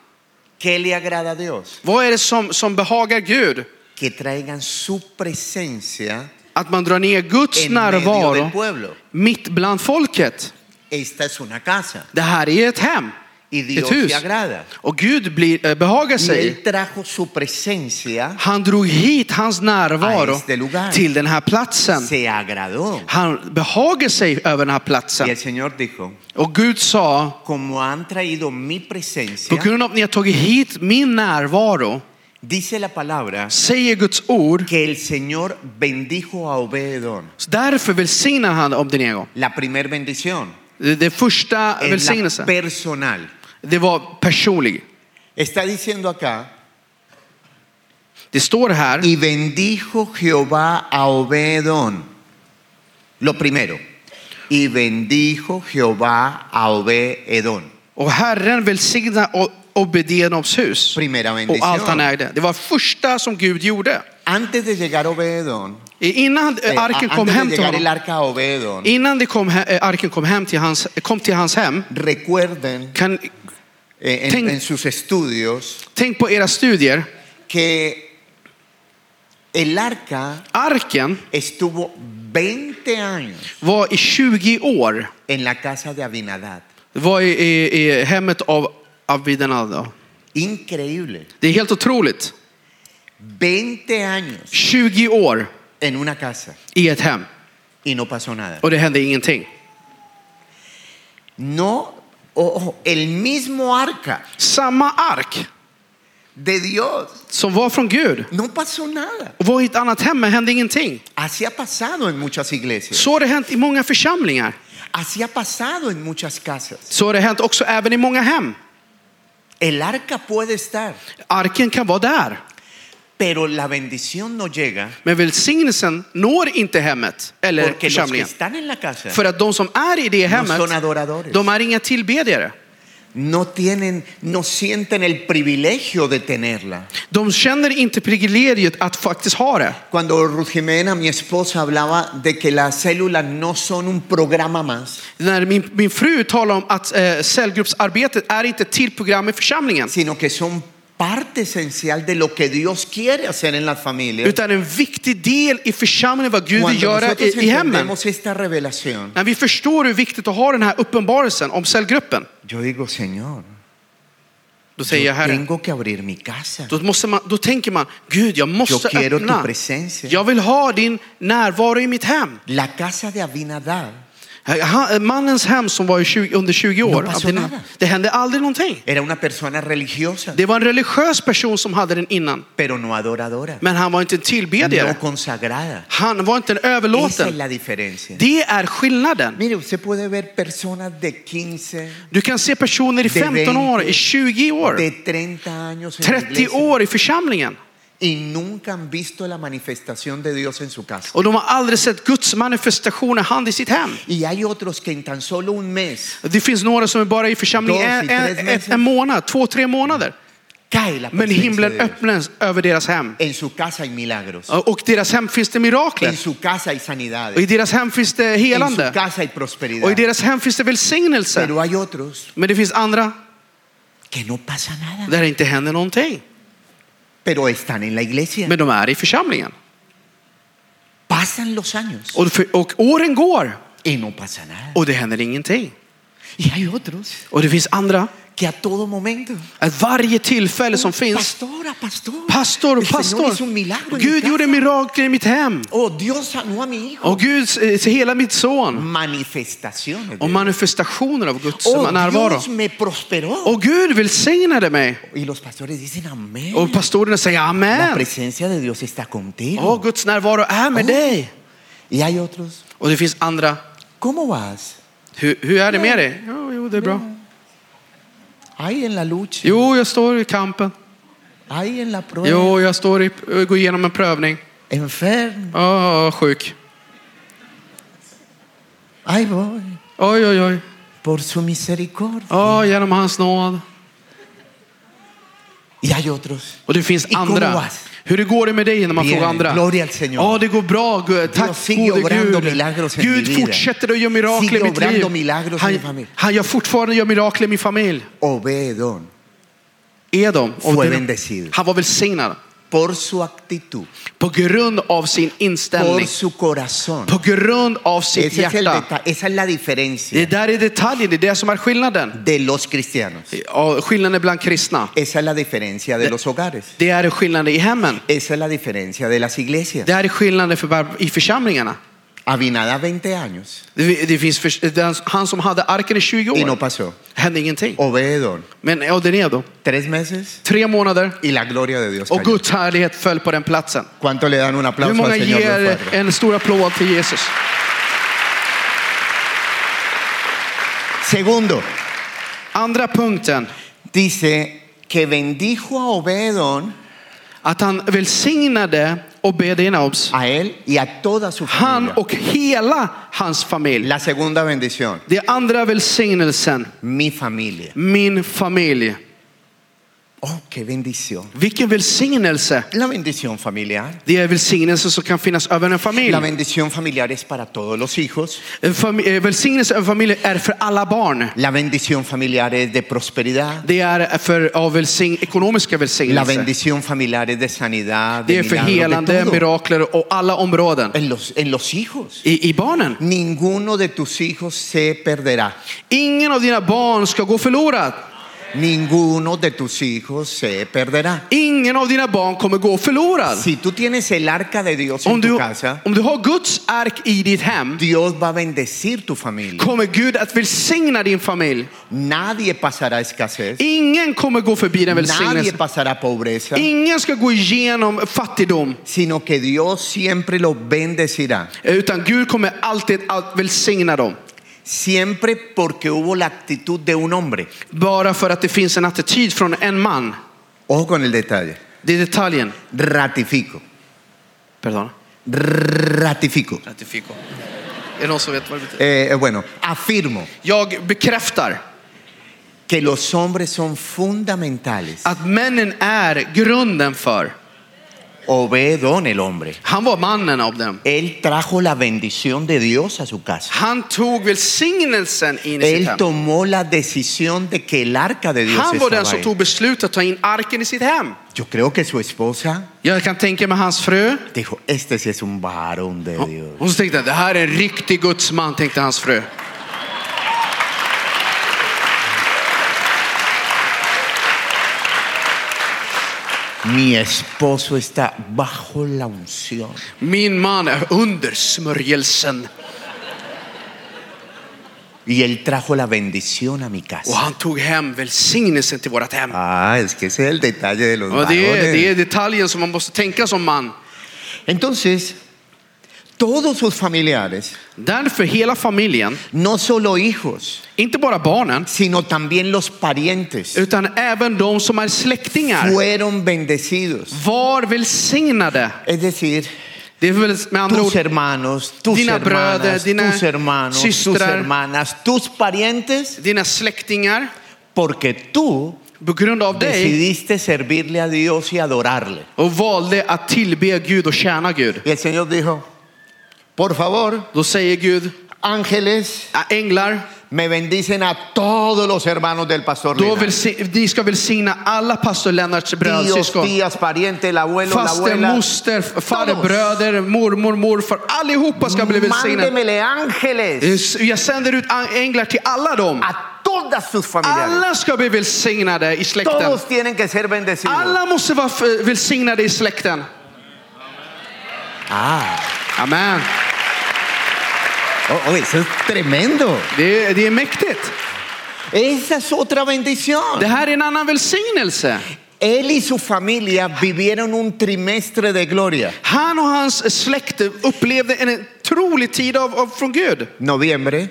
Speaker 1: ¿Qué le agrada a Dios?
Speaker 2: Vad är det som, som behagar Gud?
Speaker 1: Que traigan su presencia
Speaker 2: Att man drar ner Guds
Speaker 1: en medio del
Speaker 2: närvaro
Speaker 1: pueblo.
Speaker 2: mitt bland folket.
Speaker 1: Esta es una casa.
Speaker 2: Det här är ett hem.
Speaker 1: y Dios
Speaker 2: Ett hus.
Speaker 1: se agrada.
Speaker 2: Och Gud blir, eh, behagar
Speaker 1: Y
Speaker 2: sig.
Speaker 1: Él trajo su presencia,
Speaker 2: Han drog hit hans
Speaker 1: Ah,
Speaker 2: närvaro
Speaker 1: este lugar.
Speaker 2: till den här platsen.
Speaker 1: se agradó.
Speaker 2: Han behagar sig över den här
Speaker 1: Y
Speaker 2: platsen.
Speaker 1: el Señor dijo,
Speaker 2: Och Gud sa,
Speaker 1: como han traído mi
Speaker 2: på
Speaker 1: presencia,
Speaker 2: grund av att ni har tagit hit min närvaro,
Speaker 1: dice la palabra
Speaker 2: säger Guds ord,
Speaker 1: que el Señor bendijo a Obededón.
Speaker 2: så därför välsignar han Obdenego.
Speaker 1: La primer bendición
Speaker 2: Det det första
Speaker 1: es la
Speaker 2: välsignelsen,
Speaker 1: personal.
Speaker 2: det var personlig.
Speaker 1: Está diciendo acá,
Speaker 2: Det står här,
Speaker 1: y bendijo Jehová a Obededón. Lo primero, y bendijo Jehová a Obededón.
Speaker 2: Och Herren välsignade O- Obedenoms hus
Speaker 1: Primera
Speaker 2: och allt han
Speaker 1: bendición.
Speaker 2: ägde. Det var första som Gud gjorde.
Speaker 1: Antes de llegar a Obededón,
Speaker 2: Innan eh,
Speaker 1: eh,
Speaker 2: arken
Speaker 1: a-
Speaker 2: kom
Speaker 1: antes
Speaker 2: hem
Speaker 1: de
Speaker 2: till
Speaker 1: llegar el
Speaker 2: honom,
Speaker 1: arca a Obededón,
Speaker 2: innan det kom, he- eh, arken kom, hem till hans, kom till hans hem,
Speaker 1: recuerden
Speaker 2: kan,
Speaker 1: eh, en-
Speaker 2: Ten-
Speaker 1: en sus estudios
Speaker 2: tänk på era studier.
Speaker 1: que el arca
Speaker 2: Arken
Speaker 1: estuvo 20 años
Speaker 2: var i 20 år,
Speaker 1: en la casa de Abinadad.
Speaker 2: var i, i, i hemmet av Abinadab.
Speaker 1: Increíble.
Speaker 2: Det är helt otroligt.
Speaker 1: 20 años
Speaker 2: 20 år
Speaker 1: en una casa
Speaker 2: i ett hem
Speaker 1: y no pasó nada.
Speaker 2: och det hände ingenting.
Speaker 1: No, ojo, el mismo arca
Speaker 2: Samma ark
Speaker 1: de Dios
Speaker 2: som var från Gud
Speaker 1: no pasó nada.
Speaker 2: och var i ett annat hem, men hände ingenting.
Speaker 1: Así ha pasado en muchas iglesias.
Speaker 2: Så har det hänt i många församlingar.
Speaker 1: Así ha pasado en muchas casas.
Speaker 2: Så har det hänt också även i många hem.
Speaker 1: El arca puede estar,
Speaker 2: Arken kan vara där,
Speaker 1: pero la bendición no llega
Speaker 2: men välsignelsen når inte hemmet eller
Speaker 1: porque los que
Speaker 2: församlingen.
Speaker 1: están en la casa
Speaker 2: För att de som är i det
Speaker 1: no son
Speaker 2: hemmet,
Speaker 1: adoradores.
Speaker 2: de är inga tillbedjare.
Speaker 1: no tienen, no sienten el privilegio de tenerla.
Speaker 2: De känner inte privilegiet att faktiskt ha det.
Speaker 1: Cuando Ruth Jimena, mi esposa, hablaba de que las células no son un programa más,
Speaker 2: När min, min fru talar om att eh, cellgruppsarbetet är inte ett till program i församlingen,
Speaker 1: sino que son parte esencial de lo que Dios quiere hacer en las familias.
Speaker 2: utan en viktig del i församlingen vad Gud vill
Speaker 1: Cuando
Speaker 2: göra
Speaker 1: nosotros
Speaker 2: i, i hemmen.
Speaker 1: entendemos esta revelación,
Speaker 2: När vi förstår hur viktigt att ha den här uppenbarelsen om cellgruppen,
Speaker 1: yo digo, Señor,
Speaker 2: då
Speaker 1: yo
Speaker 2: säger jag Herre,
Speaker 1: tengo que abrir mi casa.
Speaker 2: Då, måste man, då tänker man, Gud jag
Speaker 1: Yo
Speaker 2: måste
Speaker 1: quiero tu
Speaker 2: öppna.
Speaker 1: presencia.
Speaker 2: Jag vill ha din närvaro i mitt hem.
Speaker 1: La casa de Abinadab
Speaker 2: Han, eh, mannens hem som var i 20, under 20 år,
Speaker 1: pasó
Speaker 2: Abdina-
Speaker 1: nada.
Speaker 2: det hände aldrig någonting.
Speaker 1: era una persona religiosa,
Speaker 2: Det var en religiös person som hade den innan,
Speaker 1: pero no adoradora,
Speaker 2: men han var inte en tillbedjare.
Speaker 1: no consagrada.
Speaker 2: Han var inte en
Speaker 1: Esa es
Speaker 2: överlåten.
Speaker 1: la diferencia.
Speaker 2: Det är skillnaden.
Speaker 1: Mire, usted puede ver personas de 15,
Speaker 2: Du kan se personer i
Speaker 1: Det
Speaker 2: 15 år, i
Speaker 1: vänder.
Speaker 2: 20 år,
Speaker 1: de 30 años en la
Speaker 2: 30
Speaker 1: iglesia
Speaker 2: år i församlingen.
Speaker 1: y nunca han visto la manifestación de Dios en su casa.
Speaker 2: Och de har aldrig sett Guds manifestationer hand i sitt hem.
Speaker 1: Y hay otros que en tan solo un mes
Speaker 2: Det finns några som är bara i
Speaker 1: Dos,
Speaker 2: församlingen en,
Speaker 1: i tres
Speaker 2: en, en,
Speaker 1: meses.
Speaker 2: en månad, två, tre månader.
Speaker 1: cae la presencia
Speaker 2: Men
Speaker 1: de
Speaker 2: himlen
Speaker 1: Dios. Oh,
Speaker 2: öppnas över deras hem.
Speaker 1: "Ah, En su casa hay milagros,
Speaker 2: Och deras hem finns det mirakler.
Speaker 1: en su casa hay
Speaker 2: Och i
Speaker 1: sanidades,
Speaker 2: deras hem finns det
Speaker 1: en su
Speaker 2: helande.
Speaker 1: casa hay prosperidad.
Speaker 2: Och i deras hem finns det välsignelse.
Speaker 1: Pero hay otros
Speaker 2: Men det finns andra
Speaker 1: que no pasa nada,
Speaker 2: där det inte händer någonting.
Speaker 1: pero están en la iglesia.
Speaker 2: Men de är i församlingen.
Speaker 1: Pasan los años
Speaker 2: Och, för, och åren går
Speaker 1: y no pasa nada.
Speaker 2: och det händer ingenting.
Speaker 1: Y hay otros
Speaker 2: Och det finns andra,
Speaker 1: que a todo momento,
Speaker 2: att varje tillfälle som finns,
Speaker 1: pastora, pastor,
Speaker 2: pastor,
Speaker 1: el Señor hizo un milagro
Speaker 2: pastor,
Speaker 1: en mi
Speaker 2: Gud
Speaker 1: casa.
Speaker 2: gjorde mirakel i mitt hem.
Speaker 1: Oh, Dios sanó a mi hijo.
Speaker 2: Och Gud eh, ser hela mitt
Speaker 1: Oh.
Speaker 2: son.
Speaker 1: Manifestaciones. de
Speaker 2: Och
Speaker 1: Dios.
Speaker 2: manifestationer av Guds
Speaker 1: Oh,
Speaker 2: närvaro.
Speaker 1: Dios me prosperó.
Speaker 2: Och Gud välsignade mig.
Speaker 1: Y los pastores dicen amén.
Speaker 2: Och pastorerna säger
Speaker 1: La
Speaker 2: amen.
Speaker 1: presencia de Dios está contigo.
Speaker 2: Åh, Guds närvaro är med
Speaker 1: Oh.
Speaker 2: dig.
Speaker 1: Y hay otros.
Speaker 2: Och det finns andra.
Speaker 1: ¿Cómo vas?
Speaker 2: Hur, hur är det med dig? Jo, jo, det är bra.
Speaker 1: Ahí en la lucha.
Speaker 2: Jo, jag står i kampen.
Speaker 1: Ahí en la prueba.
Speaker 2: Jo, jag står i, går igenom en prövning.
Speaker 1: Enfermo.
Speaker 2: Åh, sjuk.
Speaker 1: Ahí voy.
Speaker 2: Oj, oj, oj.
Speaker 1: Por su misericordia.
Speaker 2: Åh, genom hans nåd.
Speaker 1: Y hay otros.
Speaker 2: Och det finns
Speaker 1: I
Speaker 2: andra.
Speaker 1: Kongoas.
Speaker 2: Hur det går det med dig när man
Speaker 1: Bien,
Speaker 2: frågar andra?
Speaker 1: gloria al Señor.
Speaker 2: Ja, det går bra. Gud. Tack
Speaker 1: sigue
Speaker 2: gode
Speaker 1: obrando
Speaker 2: Gud.
Speaker 1: milagros en mi
Speaker 2: Gud
Speaker 1: vida.
Speaker 2: fortsätter att göra mirakler i
Speaker 1: Sigue
Speaker 2: mitt
Speaker 1: obrando
Speaker 2: liv.
Speaker 1: milagros en mi
Speaker 2: Han,
Speaker 1: familia.
Speaker 2: han gör fortfarande gör mirakler i min familj.
Speaker 1: Obedón.
Speaker 2: Edom,
Speaker 1: Fue
Speaker 2: Obededom,
Speaker 1: bendecido.
Speaker 2: han var välsignad.
Speaker 1: por su actitud,
Speaker 2: på grund av sin
Speaker 1: por
Speaker 2: inställning,
Speaker 1: su corazón.
Speaker 2: på grund av sitt
Speaker 1: Ese es el
Speaker 2: hjärta.
Speaker 1: deta- esa es la diferencia
Speaker 2: Det där är detaljen, det är det som är skillnaden.
Speaker 1: de los cristianos.
Speaker 2: Ja, Skillnaden bland kristna,
Speaker 1: Esa es la diferencia de los hogares.
Speaker 2: det är skillnaden i hemmen.
Speaker 1: Esa es la diferencia de las iglesias.
Speaker 2: Det här är skillnaden för, i församlingarna.
Speaker 1: Abinadab 20 años
Speaker 2: Det, det finns för, den, han som hade arken i 20
Speaker 1: y no
Speaker 2: år,
Speaker 1: pasó.
Speaker 2: hände ingenting.
Speaker 1: Obededón,
Speaker 2: Men Odenedo,
Speaker 1: tres meses
Speaker 2: tre månader
Speaker 1: y la gloria de Dios.
Speaker 2: och
Speaker 1: cayó.
Speaker 2: Guds härlighet föll på den platsen.
Speaker 1: ¿Cuánto le dan un
Speaker 2: Hur
Speaker 1: aplauso al
Speaker 2: många
Speaker 1: Señor? Dios
Speaker 2: ger
Speaker 1: Padre?
Speaker 2: en stor applåd till Jesus?
Speaker 1: Segundo,
Speaker 2: Andra punkten,
Speaker 1: dice que bendijo a Obededón,
Speaker 2: att han välsignade Obedenaobs,
Speaker 1: a él y a toda su
Speaker 2: han
Speaker 1: familia.
Speaker 2: och hela hans familj.
Speaker 1: La segunda bendición,
Speaker 2: Det är andra välsignelsen,
Speaker 1: mi familia.
Speaker 2: min familj.
Speaker 1: Oh, qué bendición.
Speaker 2: Vilken välsignelse!
Speaker 1: La bendición familiar.
Speaker 2: Det är välsignelsen som kan finnas över en familj.
Speaker 1: La bendición familiar es para todos los hijos.
Speaker 2: En fami- eh, välsignelse över familj är för alla barn.
Speaker 1: La bendición familiar es de prosperidad.
Speaker 2: Det är för av välsign- ekonomiska
Speaker 1: La
Speaker 2: välsignelser.
Speaker 1: bendición familiar es de sanidad,
Speaker 2: Det
Speaker 1: de
Speaker 2: är för
Speaker 1: milagros, de
Speaker 2: helande,
Speaker 1: todo.
Speaker 2: mirakler och alla områden.
Speaker 1: En los, en los hijos.
Speaker 2: I, I barnen.
Speaker 1: Ninguno de tus hijos se perderá.
Speaker 2: Ingen av dina barn ska gå förlorad.
Speaker 1: Ninguno de tus hijos se perderá.
Speaker 2: Ingen av dina barn kommer gå förlorad.
Speaker 1: Si tú tienes el arca de Dios en
Speaker 2: Om
Speaker 1: tu
Speaker 2: du,
Speaker 1: casa,
Speaker 2: om du har Guds ark i ditt hem
Speaker 1: Dios va a bendecir tu familia.
Speaker 2: kommer Gud att välsigna din familj.
Speaker 1: Nadie pasará escasez.
Speaker 2: Ingen kommer gå förbi den
Speaker 1: Nadie
Speaker 2: välsignelsen.
Speaker 1: pasará pobreza,
Speaker 2: Ingen ska gå igenom fattigdom.
Speaker 1: sino que Dios siempre lo bendecirá.
Speaker 2: Utan Gud kommer alltid att välsigna dem.
Speaker 1: Siempre porque hubo la actitud de un hombre.
Speaker 2: Bara för att det finns en attityd från en man.
Speaker 1: Ojo con el detalle.
Speaker 2: Det är detaljen.
Speaker 1: Ratifico.
Speaker 2: Perdona.
Speaker 1: Ratifico.
Speaker 2: Ratifico. Är det någon som vet vad det betyder?
Speaker 1: Eh, bueno, afirmo
Speaker 2: Jag bekräftar
Speaker 1: que los hombres son fundamentales.
Speaker 2: att männen är grunden för.
Speaker 1: Obedón el hombre.
Speaker 2: Han var mannen av dem.
Speaker 1: Él trajo la bendición de Dios a su casa.
Speaker 2: Han tog välsignelsen in i sitt
Speaker 1: Él
Speaker 2: hem.
Speaker 1: tomó la decisión de que el arca de Dios
Speaker 2: Han var den
Speaker 1: estaba
Speaker 2: som
Speaker 1: ahí.
Speaker 2: tog beslutet att ta in arken i sitt hem.
Speaker 1: Yo creo que su esposa
Speaker 2: Jag kan tänka mig hans fru.
Speaker 1: dijo, este sí es un varón de
Speaker 2: Oh.
Speaker 1: Dios.
Speaker 2: Hon tänkte det här är en riktig gudsman, tänkte hans fru.
Speaker 1: Mi esposo está bajo la unción.
Speaker 2: Min man är under smörjelsen.
Speaker 1: Y él trajo la bendición a mi
Speaker 2: Och
Speaker 1: casa.
Speaker 2: han tog hem välsignelsen till vårt hem.
Speaker 1: Ah, es que ese es el detalle de los
Speaker 2: Och det, är,
Speaker 1: varones.
Speaker 2: det är detaljen som man måste tänka som man.
Speaker 1: Entonces, todos sus familiares,
Speaker 2: Därför hela familjen,
Speaker 1: no solo hijos,
Speaker 2: inte bara barnen,
Speaker 1: sino también los parientes,
Speaker 2: utan även de som är släktingar,
Speaker 1: fueron bendecidos.
Speaker 2: var välsignade.
Speaker 1: Es decir,
Speaker 2: Det är väl med andra
Speaker 1: tus
Speaker 2: ord
Speaker 1: hermanos, tus
Speaker 2: Dina
Speaker 1: hermanas,
Speaker 2: bröder, dina
Speaker 1: tus hermanos, tus
Speaker 2: systrar.
Speaker 1: hermanas, tus parientes,
Speaker 2: dina släktingar,
Speaker 1: porque tú
Speaker 2: på grund av dig,
Speaker 1: decidiste servirle a Dios y adorarle.
Speaker 2: och valde att tillbe Gud och tjäna Gud.
Speaker 1: Y el Señor dijo, por favor,
Speaker 2: Då säger Gud,
Speaker 1: ángeles,
Speaker 2: "Ä- änglar,
Speaker 1: me bendicen a todos los hermanos del pastor.
Speaker 2: då
Speaker 1: Lina.
Speaker 2: välsi- ni ska välsigna alla pastor Lennarts
Speaker 1: Tíos,
Speaker 2: brödsyskon.
Speaker 1: tías, pariente, el abuelo, la
Speaker 2: Faster,
Speaker 1: abuela.
Speaker 2: moster, farbröder, mormor, morfar. Allihopa ska bli välsignade.
Speaker 1: Mándemele ángeles
Speaker 2: Jag sänder ut an- änglar till alla dem.
Speaker 1: a todas sus familiares.
Speaker 2: Alla ska bli välsignade i släkten.
Speaker 1: Todos tienen que ser bendecidos.
Speaker 2: Alla måste vara f- välsignade i släkten.
Speaker 1: Ah,
Speaker 2: Amen.
Speaker 1: oh, oh, eso es tremendo.
Speaker 2: Det är, det är mäktigt.
Speaker 1: Esa es otra bendición.
Speaker 2: Det här är en annan välsignelse.
Speaker 1: Él y su familia vivieron un trimestre de gloria.
Speaker 2: Han och hans släkt upplevde en otrolig tid av, av, från Gud.
Speaker 1: Noviembre,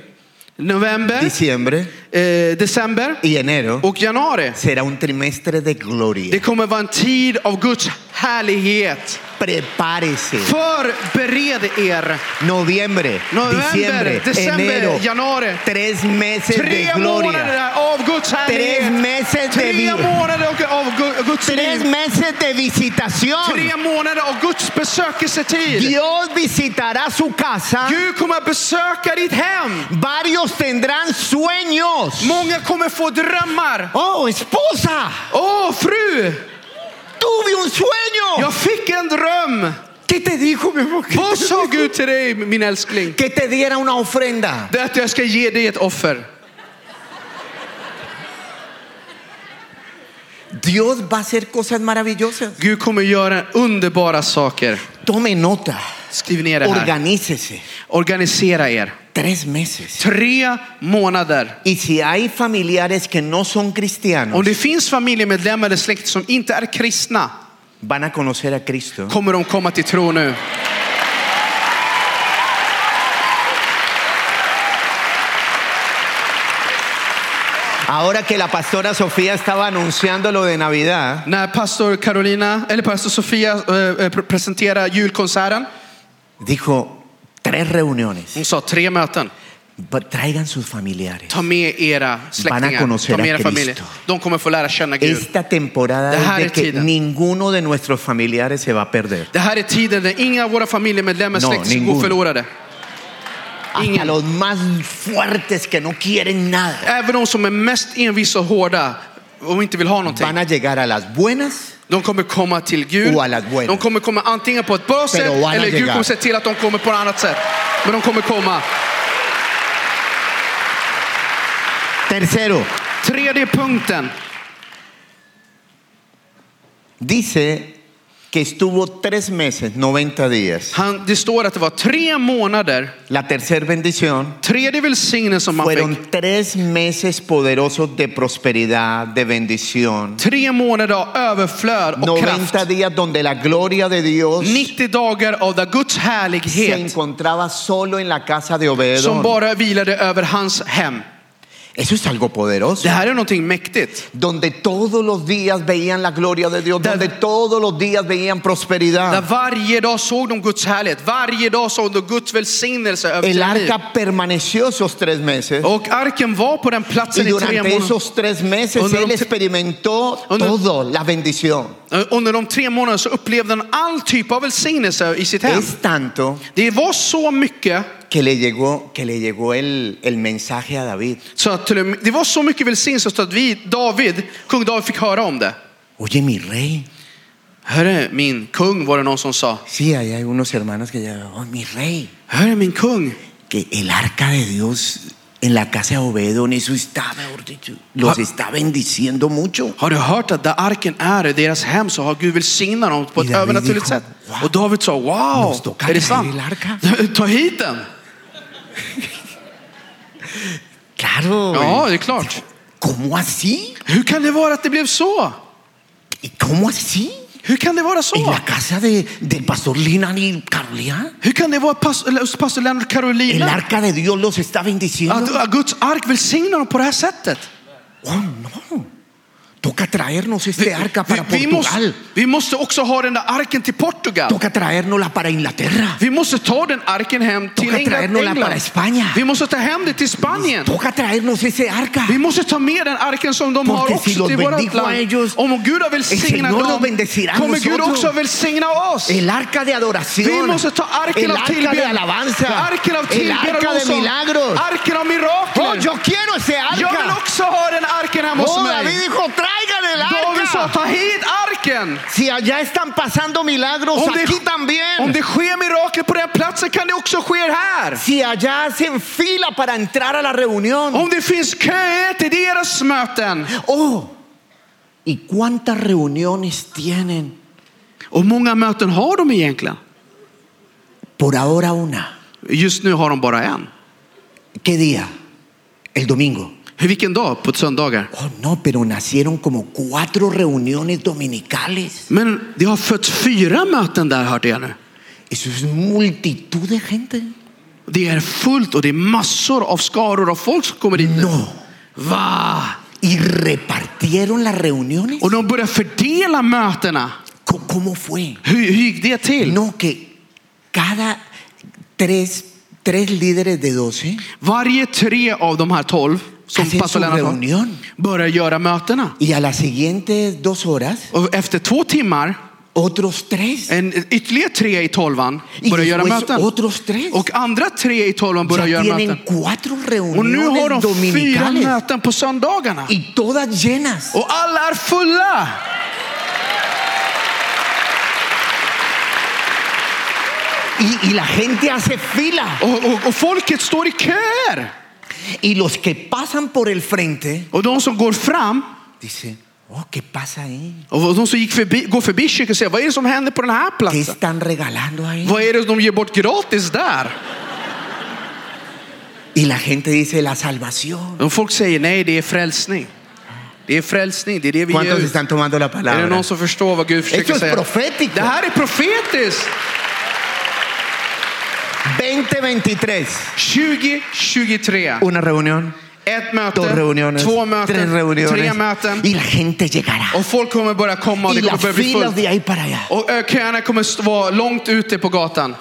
Speaker 2: November,
Speaker 1: diciembre
Speaker 2: eh, december
Speaker 1: y enero
Speaker 2: och januari.
Speaker 1: será un trimestre de
Speaker 2: Det
Speaker 1: gloria.
Speaker 2: kommer vara en tid av Guds härlighet.
Speaker 1: Prepárese.
Speaker 2: Förbered er.
Speaker 1: Noviembre,
Speaker 2: November,
Speaker 1: diciembre, enero,
Speaker 2: december, januari.
Speaker 1: tres meses de
Speaker 2: Tre
Speaker 1: gloria.
Speaker 2: månader av Guds
Speaker 1: Tres
Speaker 2: härlighet.
Speaker 1: meses de
Speaker 2: Tre
Speaker 1: vida.
Speaker 2: månader av- av Gu- Guds
Speaker 1: Tres
Speaker 2: liv.
Speaker 1: meses de visitación.
Speaker 2: Tre månader av Guds besökelsetid.
Speaker 1: Dios visitará su casa.
Speaker 2: Gud kommer att besöka ditt hem.
Speaker 1: Varios tendrán sueños.
Speaker 2: Många kommer få drömmar.
Speaker 1: Oh, esposa.
Speaker 2: Åh, fru!
Speaker 1: tuve un sueño.
Speaker 2: Jag fick en dröm.
Speaker 1: ¿Qué te dijo, mi amor? ¿Qué
Speaker 2: Vad
Speaker 1: te-
Speaker 2: sa Gud till dig min älskling?
Speaker 1: Que te diera una ofrenda.
Speaker 2: Det är att jag ska ge dig ett offer.
Speaker 1: Dios va a hacer cosas maravillosas.
Speaker 2: Gud kommer göra underbara saker.
Speaker 1: Tome nota.
Speaker 2: Skriv ner det här.
Speaker 1: Organícese.
Speaker 2: Organisera er.
Speaker 1: Tres meses.
Speaker 2: Tre månader.
Speaker 1: Y si hay familiares que no son cristianos,
Speaker 2: Om det finns familjemedlemmar eller släkt som inte är kristna
Speaker 1: van a conocer a Cristo.
Speaker 2: kommer de komma till tro nu.
Speaker 1: Ahora que la pastora Sofía estaba anunciando lo de Navidad,
Speaker 2: När pastor Carolina, eller pastor Sofia eh, eh, pre- presenterar julkonserten.
Speaker 1: dijo tres reuniones.
Speaker 2: Hon sa tre möten.
Speaker 1: Va- Traigan sus familiares.
Speaker 2: Ta med era släktingar,
Speaker 1: conocera
Speaker 2: ta med era
Speaker 1: Cristo.
Speaker 2: familjer. De kommer få lära känna Gud.
Speaker 1: Esta temporada
Speaker 2: Det här
Speaker 1: es
Speaker 2: är
Speaker 1: de que
Speaker 2: tiden.
Speaker 1: ninguno de nuestros familiares se va a perder.
Speaker 2: Det här är tiden där inga av våra familjemedlemmar
Speaker 1: No,
Speaker 2: släkt ska gå
Speaker 1: ningun.
Speaker 2: förlorade.
Speaker 1: Hasta los más fuertes que no quieren nada
Speaker 2: Även de som är mest envisa och hårda och inte vill ha någonting.
Speaker 1: van a llegar a las buenas.
Speaker 2: De kommer komma till Gud.
Speaker 1: Och Oh, alla buenas.
Speaker 2: De kommer komma antingen på ett bra sätt
Speaker 1: van a
Speaker 2: eller Gud
Speaker 1: llegar.
Speaker 2: kommer se till att de kommer på ett annat sätt. Men de kommer komma.
Speaker 1: Tercero,
Speaker 2: Tredje punkten.
Speaker 1: dice que estuvo tres meses, 90 días.
Speaker 2: Han, det står att det var tre månader.
Speaker 1: La tercera bendición
Speaker 2: Tredje välsignelsen man fick.
Speaker 1: fueron tres meses poderosos de prosperidad, de bendición.
Speaker 2: Tre månader av överflöd och kraft.
Speaker 1: 90 días donde la gloria de Dios
Speaker 2: 90 dagar av där Guds
Speaker 1: se
Speaker 2: härlighet
Speaker 1: encontraba solo en la casa de
Speaker 2: som
Speaker 1: Obededón.
Speaker 2: bara vilade över hans hem.
Speaker 1: Eso es algo poderoso.
Speaker 2: Det här är någonting mäktigt.
Speaker 1: Donde todos los días veían la gloria de Dios,
Speaker 2: Där-
Speaker 1: donde todos los días veían
Speaker 2: Där
Speaker 1: prosperidad.
Speaker 2: varje dag såg de Guds härlighet. Varje dag såg de Guds välsignelse över
Speaker 1: El
Speaker 2: sitt liv.
Speaker 1: arca permaneció esos tres meses
Speaker 2: Och arken var på den
Speaker 1: y
Speaker 2: platsen i tre
Speaker 1: durante
Speaker 2: månader.
Speaker 1: esos tres meses
Speaker 2: Under de
Speaker 1: él
Speaker 2: tre-
Speaker 1: experimentó
Speaker 2: Under-
Speaker 1: todo la bendición.
Speaker 2: Under de tre månaderna så upplevde han all typ av välsignelse i sitt hem.
Speaker 1: Es tanto
Speaker 2: Det var så mycket
Speaker 1: que le llegó, que le llegå el, el mensaje a David.
Speaker 2: så att till och med, det var så mycket välsignelse så att vi, David, kung David fick höra om det.
Speaker 1: Oye, mi rey.
Speaker 2: Hörru min kung var det någon som sa.
Speaker 1: Sí, ahí hay unos hermanos que ya, oh, mi rey.
Speaker 2: Hörru min kung.
Speaker 1: que el arca de Dios en la casa de Obedón, eso está, mejor dicho, los
Speaker 2: Ah.
Speaker 1: está bendiciendo mucho.
Speaker 2: Har du hört att där arken är i deras hem så har Gud välsignat dem på ett
Speaker 1: I David
Speaker 2: övernaturligt
Speaker 1: dijo,
Speaker 2: sätt?
Speaker 1: "Wow."
Speaker 2: Och David sa wow,
Speaker 1: Nos toca
Speaker 2: är det
Speaker 1: traer
Speaker 2: sant?
Speaker 1: el arca.
Speaker 2: Ta hit den.
Speaker 1: Claro.
Speaker 2: Ja,
Speaker 1: y-
Speaker 2: det är klart.
Speaker 1: ¿Cómo así?
Speaker 2: Hur kan det vara att det blev så?
Speaker 1: ¿Y cómo así?
Speaker 2: Hur kan det vara så?
Speaker 1: En la casa de, del pastor Linan y Carolina,
Speaker 2: Hur kan det vara pas- eller hos pastor Leonard
Speaker 1: el
Speaker 2: Carolina?
Speaker 1: arca de Dios los está bendiciendo.
Speaker 2: Att att Guds ark välsignar dem på det här sättet.
Speaker 1: Oh, no. Toca traernos este arca
Speaker 2: Vi,
Speaker 1: para
Speaker 2: vi, måste,
Speaker 1: Portugal.
Speaker 2: vi måste också ha den där arken till Portugal.
Speaker 1: Toca traérnosla para Inglaterra.
Speaker 2: Vi måste ta den arken hem till
Speaker 1: Toca
Speaker 2: England.
Speaker 1: traérnosla para
Speaker 2: England.
Speaker 1: España.
Speaker 2: Vi måste ta hem det till Spanien.
Speaker 1: Toca traernos ese arca.
Speaker 2: Vi måste ta med den arken som de
Speaker 1: Porque
Speaker 2: har
Speaker 1: si
Speaker 2: också
Speaker 1: los
Speaker 2: till vårt
Speaker 1: bendijo a
Speaker 2: land.
Speaker 1: ellos,
Speaker 2: Om Gud har
Speaker 1: el
Speaker 2: välsignat
Speaker 1: Señor
Speaker 2: dem
Speaker 1: los bendecirá a
Speaker 2: kommer Gud
Speaker 1: nosotros.
Speaker 2: också välsigna oss.
Speaker 1: El arca de
Speaker 2: Vi
Speaker 1: adoración.
Speaker 2: måste ta arken
Speaker 1: el
Speaker 2: av
Speaker 1: arca de
Speaker 2: tillbedjan.
Speaker 1: alabanza.
Speaker 2: Arken av
Speaker 1: el
Speaker 2: tillbedjan
Speaker 1: arca de
Speaker 2: också.
Speaker 1: milagros.
Speaker 2: Arken av
Speaker 1: Oh,
Speaker 2: mirakler.
Speaker 1: yo quiero ese
Speaker 2: Jag vill
Speaker 1: arca.
Speaker 2: också ha den arken hemma hos
Speaker 1: Oh, David
Speaker 2: mig.
Speaker 1: dijo, traigan el
Speaker 2: David sa,
Speaker 1: arca.
Speaker 2: ta hit arken.
Speaker 1: Si allá están pasando milagros,
Speaker 2: Om
Speaker 1: aquí
Speaker 2: det, om
Speaker 1: también.
Speaker 2: det sker mirakel på den platsen kan det också ske här.
Speaker 1: Si allá hacen fila para entrar a la reunión.
Speaker 2: Om det finns köer till deras möten.
Speaker 1: Oh, ¿y cuántas reuniones tienen?
Speaker 2: Och många möten har de egentligen?
Speaker 1: Por ahora una.
Speaker 2: Just nu har de bara en.
Speaker 1: ¿Qué día? El domingo.
Speaker 2: Hur- Vilken dag? På söndagar?
Speaker 1: Oh, no, pero nacieron como cuatro reuniones dominicales.
Speaker 2: Men det har fötts fyra möten där hörde jag nu.
Speaker 1: Eso es multitud de gente.
Speaker 2: Det är fullt och det är massor av skaror av folk som kommer dit nu.
Speaker 1: No.
Speaker 2: Va?
Speaker 1: Y repartieron las reuniones.
Speaker 2: Och de börjar fördela mötena.
Speaker 1: Co- ¿Cómo fue?
Speaker 2: Hur, hur gick det till?
Speaker 1: No, que cada tres, tres líderes de doce
Speaker 2: Varje tre av de här tolv som
Speaker 1: hacen su
Speaker 2: pastor Lennart har,
Speaker 1: reunión.
Speaker 2: börjar göra mötena.
Speaker 1: Y a las siguientes dos horas,
Speaker 2: Och efter två timmar,
Speaker 1: otros tres.
Speaker 2: en, ytterligare tre i tolvan
Speaker 1: Y
Speaker 2: börjar göra
Speaker 1: después
Speaker 2: möten.
Speaker 1: otros tres.
Speaker 2: Och andra tre i tolvan
Speaker 1: Ya
Speaker 2: börjar göra möten.
Speaker 1: tienen cuatro
Speaker 2: Och nu har
Speaker 1: reuniones
Speaker 2: de fyra
Speaker 1: dominicales.
Speaker 2: möten på söndagarna. Oh.
Speaker 1: Y todas llenas.
Speaker 2: Och alla är fulla.
Speaker 1: Y, y la gente hace fila.
Speaker 2: Och, och, och folket står i köer.
Speaker 1: Y los que pasan por el frente
Speaker 2: Och de som går fram
Speaker 1: dicen, oh, ¿qué pasa ahí?
Speaker 2: och de som gick förbi, går förbi kyrkan säger, vad är det som händer på den här
Speaker 1: ¿Qué
Speaker 2: platsen?
Speaker 1: están regalando ahí?
Speaker 2: Vad är det de ger bort gratis där?
Speaker 1: Y la gente dice, la salvación.
Speaker 2: Och folk säger, nej det är frälsning. Det är frälsning, det är det vi gör.
Speaker 1: ¿Cuántos están tomando la
Speaker 2: Är det
Speaker 1: palabra?
Speaker 2: någon som förstår vad Gud försöker
Speaker 1: Esto es
Speaker 2: säga?
Speaker 1: profético.
Speaker 2: Det här är profetiskt!
Speaker 1: 2023.
Speaker 2: 2023.
Speaker 1: Una reunión,
Speaker 2: Ett
Speaker 1: dos
Speaker 2: möte,
Speaker 1: reuniones,
Speaker 2: två
Speaker 1: tres
Speaker 2: möten,
Speaker 1: reuniones.
Speaker 2: tre möten.
Speaker 1: Y la gente llegará.
Speaker 2: Och folk kommer börja komma och
Speaker 1: Y
Speaker 2: det
Speaker 1: las
Speaker 2: kommer börja bli fullt.
Speaker 1: filas de ahí para allá.
Speaker 2: Och ö, köerna kommer st- vara långt ute på gatan.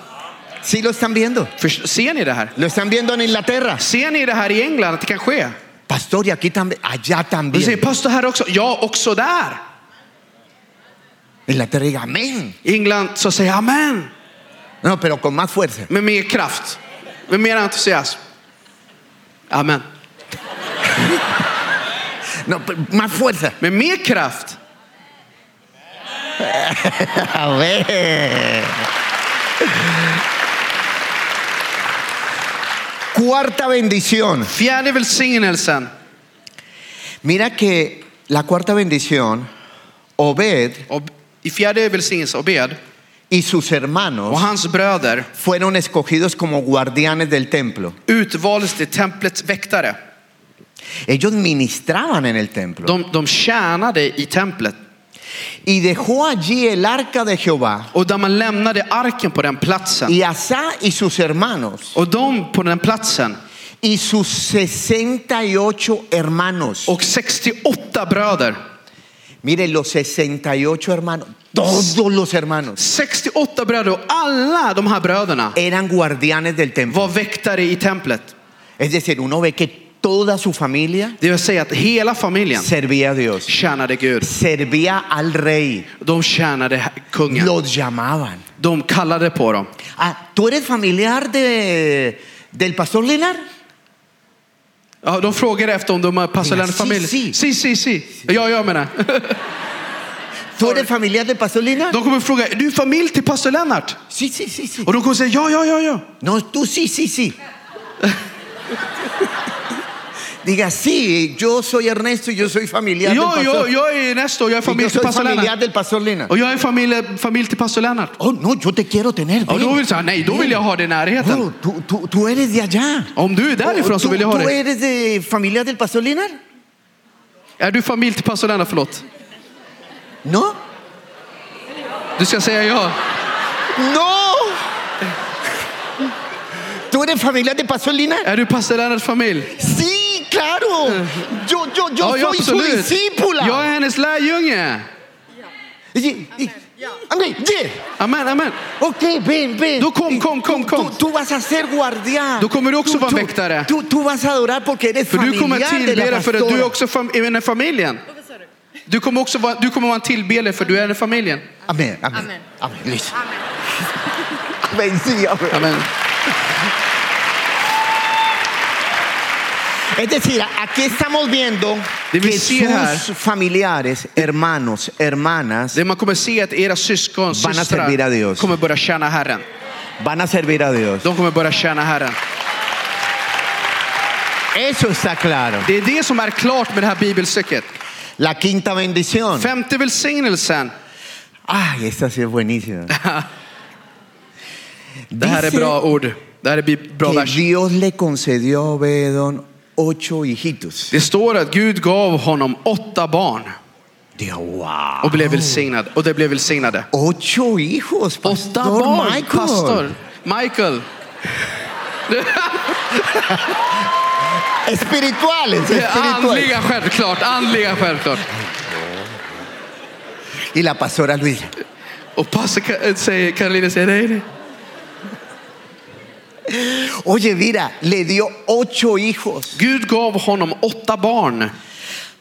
Speaker 1: ¿Sí lo están viendo?
Speaker 2: För, ser ni det här?
Speaker 1: Lo están viendo en Inglaterra.
Speaker 2: Ser ni det här i England att det kan ske?
Speaker 1: Pastor, y aquí también, allá
Speaker 2: Du säger
Speaker 1: también.
Speaker 2: pastor här också. Ja, också där.
Speaker 1: Inglaterra diga amén.
Speaker 2: I England så säger jag amen.
Speaker 1: No, pero con más fuerza.
Speaker 2: Med mer kraft. Med mer entusiasm. Amen.
Speaker 1: No, pero más fuerza.
Speaker 2: Med mer kraft.
Speaker 1: A ver. Cuarta bendición.
Speaker 2: Fjärde välsignelsen.
Speaker 1: Mira que la cuarta bendición, Obed
Speaker 2: Och, I fjärde välsignelsen, Obed
Speaker 1: y sus
Speaker 2: och
Speaker 1: hermanos
Speaker 2: hans bröder
Speaker 1: fueron escogidos como guardianes del templo.
Speaker 2: utvaldes till templets väktare.
Speaker 1: Ellos ministraban en el templo.
Speaker 2: De, de tjänade i templet.
Speaker 1: Y dejó allí el arca de Jehová.
Speaker 2: Och där man lämnade arken på den platsen.
Speaker 1: Y Asá y sus hermanos.
Speaker 2: Och de på den platsen.
Speaker 1: Y sus 68 hermanos.
Speaker 2: Och 68 bröder.
Speaker 1: Miren, los 68 hermanos. Todos los hermanos.
Speaker 2: 68 bröder och alla de här bröderna
Speaker 1: eran guardianes del templo.
Speaker 2: var väktare i templet.
Speaker 1: Es decir, uno ve que toda su familia
Speaker 2: Det vill säga att hela familjen
Speaker 1: servía a Dios,
Speaker 2: tjänade Gud.
Speaker 1: servía al rey,
Speaker 2: De tjänade kungen.
Speaker 1: los llamaban.
Speaker 2: De kallade på dem.
Speaker 1: Ah, ¿Tú eres familiar de, del pastor Linar?
Speaker 2: Ja, de frågade efter om de passade
Speaker 1: Ja,
Speaker 2: den familjen.
Speaker 1: si, si.
Speaker 2: Si, si, si. Ja, jag menar.
Speaker 1: ¿Tú eres familiar del pastor Linar?
Speaker 2: De kommer fråga, är du familj till pastor Lennart?
Speaker 1: Sí, sí, sí, sí.
Speaker 2: Och de kommer säga, ja, ja, ja, ja.
Speaker 1: No, tú sí, sí, sí. Diga, sí, yo soy Ernesto y yo soy familiar del
Speaker 2: Ja,
Speaker 1: pastor.
Speaker 2: jag, jag är Nestor, jag är
Speaker 1: Y yo
Speaker 2: familj till
Speaker 1: soy
Speaker 2: pastor
Speaker 1: familiar
Speaker 2: Lennart.
Speaker 1: del pastor Linar.
Speaker 2: Och jag är familj, familj till pastor Lennart.
Speaker 1: Oh, no, yo te quiero tener.
Speaker 2: Och
Speaker 1: ven.
Speaker 2: då vill jag säga, nej, då vill jag ha det i närheten.
Speaker 1: Oh, tú- tú- tú eres de allá.
Speaker 2: Om du är därifrån så
Speaker 1: ¿Tú,
Speaker 2: vill jag ha
Speaker 1: tú
Speaker 2: det.
Speaker 1: eres de familia del pastor Linar?
Speaker 2: Är du familj till pastor Lennart? Förlåt.
Speaker 1: No.
Speaker 2: Du ska säga ja.
Speaker 1: No. ¿Tú eres familia de pastor Linar?
Speaker 2: Är du pastor Lennarts familj?
Speaker 1: Sí, claro. Yo, yo, yo
Speaker 2: Ja, ja,
Speaker 1: soy su
Speaker 2: absolut. Jag är
Speaker 1: discípula.
Speaker 2: hennes lärjunge.
Speaker 1: Y- y- Amén. yeah.
Speaker 2: Amen, amen.
Speaker 1: Ok, ven, ven.
Speaker 2: Då kom, kom, kom,
Speaker 1: Tú,
Speaker 2: kom.
Speaker 1: tú vas a ser guardián.
Speaker 2: Då kommer du också
Speaker 1: Tú-
Speaker 2: vara
Speaker 1: tú-
Speaker 2: väktare.
Speaker 1: Tú, tú vas a adorar porque eres
Speaker 2: För du kommer
Speaker 1: familiar de la
Speaker 2: tillbedja för att du är
Speaker 1: pastora.
Speaker 2: också fam- är med i familjen. Du kommer också vara, du kommer vara en tillbedjare för du är i familjen.
Speaker 1: Amén, amén.
Speaker 3: Amén.
Speaker 1: Amén. Listo. Amén, sí, amén.
Speaker 2: Amen.
Speaker 1: Es decir, aquí estamos viendo
Speaker 2: Det vi
Speaker 1: que
Speaker 2: ser här-
Speaker 1: sus familiares, hermanos, hermanas
Speaker 2: Det man kommer se är att era syskon,
Speaker 1: Vanna servira
Speaker 2: systrar
Speaker 1: Dios.
Speaker 2: kommer börja tjäna Herren.
Speaker 1: van a servir a Dios.
Speaker 2: De kommer börja tjäna Herren.
Speaker 1: Eso está claro.
Speaker 2: Det är det som är klart med det här bibelstycket.
Speaker 1: La quinta bendición.
Speaker 2: Femte välsignelsen.
Speaker 1: Ay, esta sí es buenísima.
Speaker 2: Det här är
Speaker 1: Dice
Speaker 2: bra ord. Det här är bi- bra
Speaker 1: que
Speaker 2: vers.
Speaker 1: Dios le concedió a Obedón ocho hijitos.
Speaker 2: Det står att Gud gav honom åtta barn
Speaker 1: Dios, wow.
Speaker 2: och blev välsignad. Och det blev välsignade.
Speaker 1: Ocho hijos,
Speaker 2: Åtta
Speaker 1: pastor
Speaker 2: barn,
Speaker 1: Michael.
Speaker 2: pastor Michael.
Speaker 1: Espirituales,
Speaker 2: Det är
Speaker 1: espirituales.
Speaker 2: Andliga självklart, andliga självklart.
Speaker 1: Y la pastora Luisa.
Speaker 2: Och pastor Ka- äh, säger, Karolina säger nej, nej.
Speaker 1: Oye, mira, le dio ocho hijos.
Speaker 2: Gud gav honom åtta barn.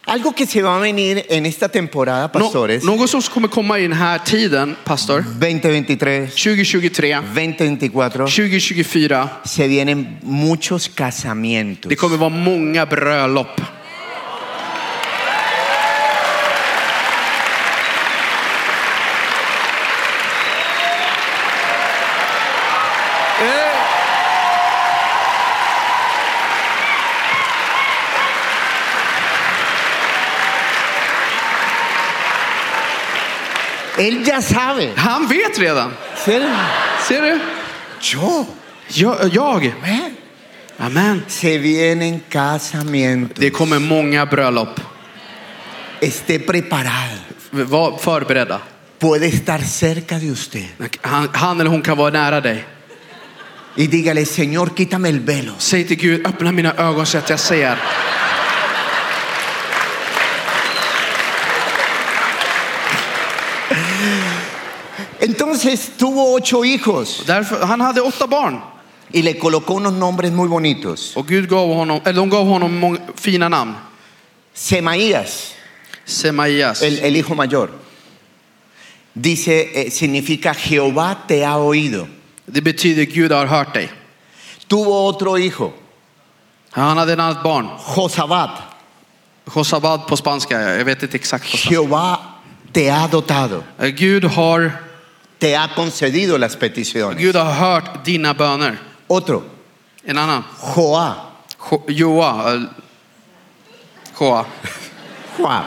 Speaker 1: Algo que se va a venir en esta temporada, pastores.
Speaker 2: Nå- något som kommer komma i den här tiden, pastor.
Speaker 1: 2023,
Speaker 2: 2023,
Speaker 1: 2024,
Speaker 2: 2024.
Speaker 1: se vienen muchos casamientos.
Speaker 2: Det kommer vara många bröllop.
Speaker 3: Él ya sabe.
Speaker 2: Han vet redan.
Speaker 3: Ser du?
Speaker 2: Ser du?
Speaker 1: Yo.
Speaker 2: Jag. jag.
Speaker 1: Amén.
Speaker 2: Amen.
Speaker 1: Se vienen casamientos.
Speaker 2: Det kommer många bröllop.
Speaker 1: Esté preparado.
Speaker 2: Var förberedda.
Speaker 1: Puede estar cerca de usted.
Speaker 2: Han, han eller hon kan vara nära dig.
Speaker 1: Y dígale, Señor, quítame el velo.
Speaker 2: Säg till Gud, öppna mina ögon så att jag ser.
Speaker 1: Entonces tuvo ocho hijos
Speaker 2: Därför, han hade åtta barn
Speaker 1: y le colocó unos nombres muy bonitos.
Speaker 2: och Gud gav honom, eller de gav honom många, fina namn.
Speaker 1: Semaías,
Speaker 2: Semaias.
Speaker 1: el, el hijo mayor, dice, eh, significa Jehová te ha oído.
Speaker 2: Det betyder Gud har hört dig.
Speaker 1: Tuvo otro hijo,
Speaker 2: Han hade ett annat barn.
Speaker 1: Josabat,
Speaker 2: Josabad på spanska, jag vet inte exakt. På spanska.
Speaker 1: Jehová te ha dotado,
Speaker 2: Gud har,
Speaker 1: te ha concedido las peticiones.
Speaker 2: Gud har hört dina böner.
Speaker 1: Otro,
Speaker 2: En annan.
Speaker 1: Joá,
Speaker 2: Jo- Joa. eller- Joa.
Speaker 1: Joá.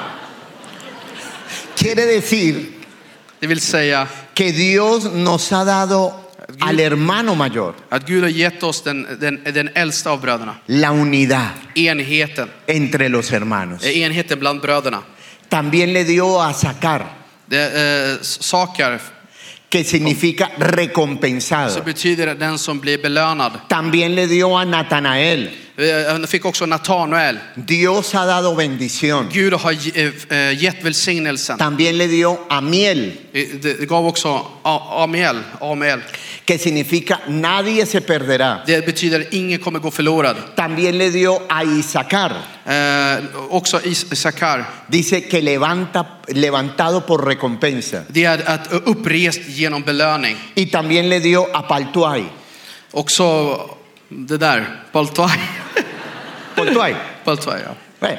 Speaker 1: Quiere decir
Speaker 2: Det vill säga
Speaker 1: que Dios nos ha dado al hermano mayor
Speaker 2: att Gud har gett oss den, den, den äldsta av bröderna.
Speaker 1: la unidad
Speaker 2: Enheten.
Speaker 1: entre los hermanos.
Speaker 2: Eh, Enheten bland bröderna.
Speaker 1: También le dio a sacar,
Speaker 2: Det, eh, sakar
Speaker 1: que significa
Speaker 2: så
Speaker 1: recompensado.
Speaker 2: betyder det den som blir belönad.
Speaker 1: También le dio a Natanael.
Speaker 2: Eh, Han fick också Natanael.
Speaker 1: Dios ha dado bendición.
Speaker 2: Gud har ge- eh, eh, gett välsignelsen.
Speaker 1: También le dio a miel,
Speaker 2: Eh, Det det gav också A- Amiel. Amiel.
Speaker 1: que significa nadie se perderá.
Speaker 2: Det betyder att ingen kommer gå förlorad.
Speaker 1: También le dio a Isaacar.
Speaker 2: Eh, också Is- Isakar.
Speaker 1: Dice que levanta, levantado por recompensa.
Speaker 2: Det är att upprest genom belöning.
Speaker 1: Y también le dio a Paltuay.
Speaker 2: Också det där, Paltuai.
Speaker 1: Paltuay.
Speaker 2: Paltuai ja.
Speaker 1: eh,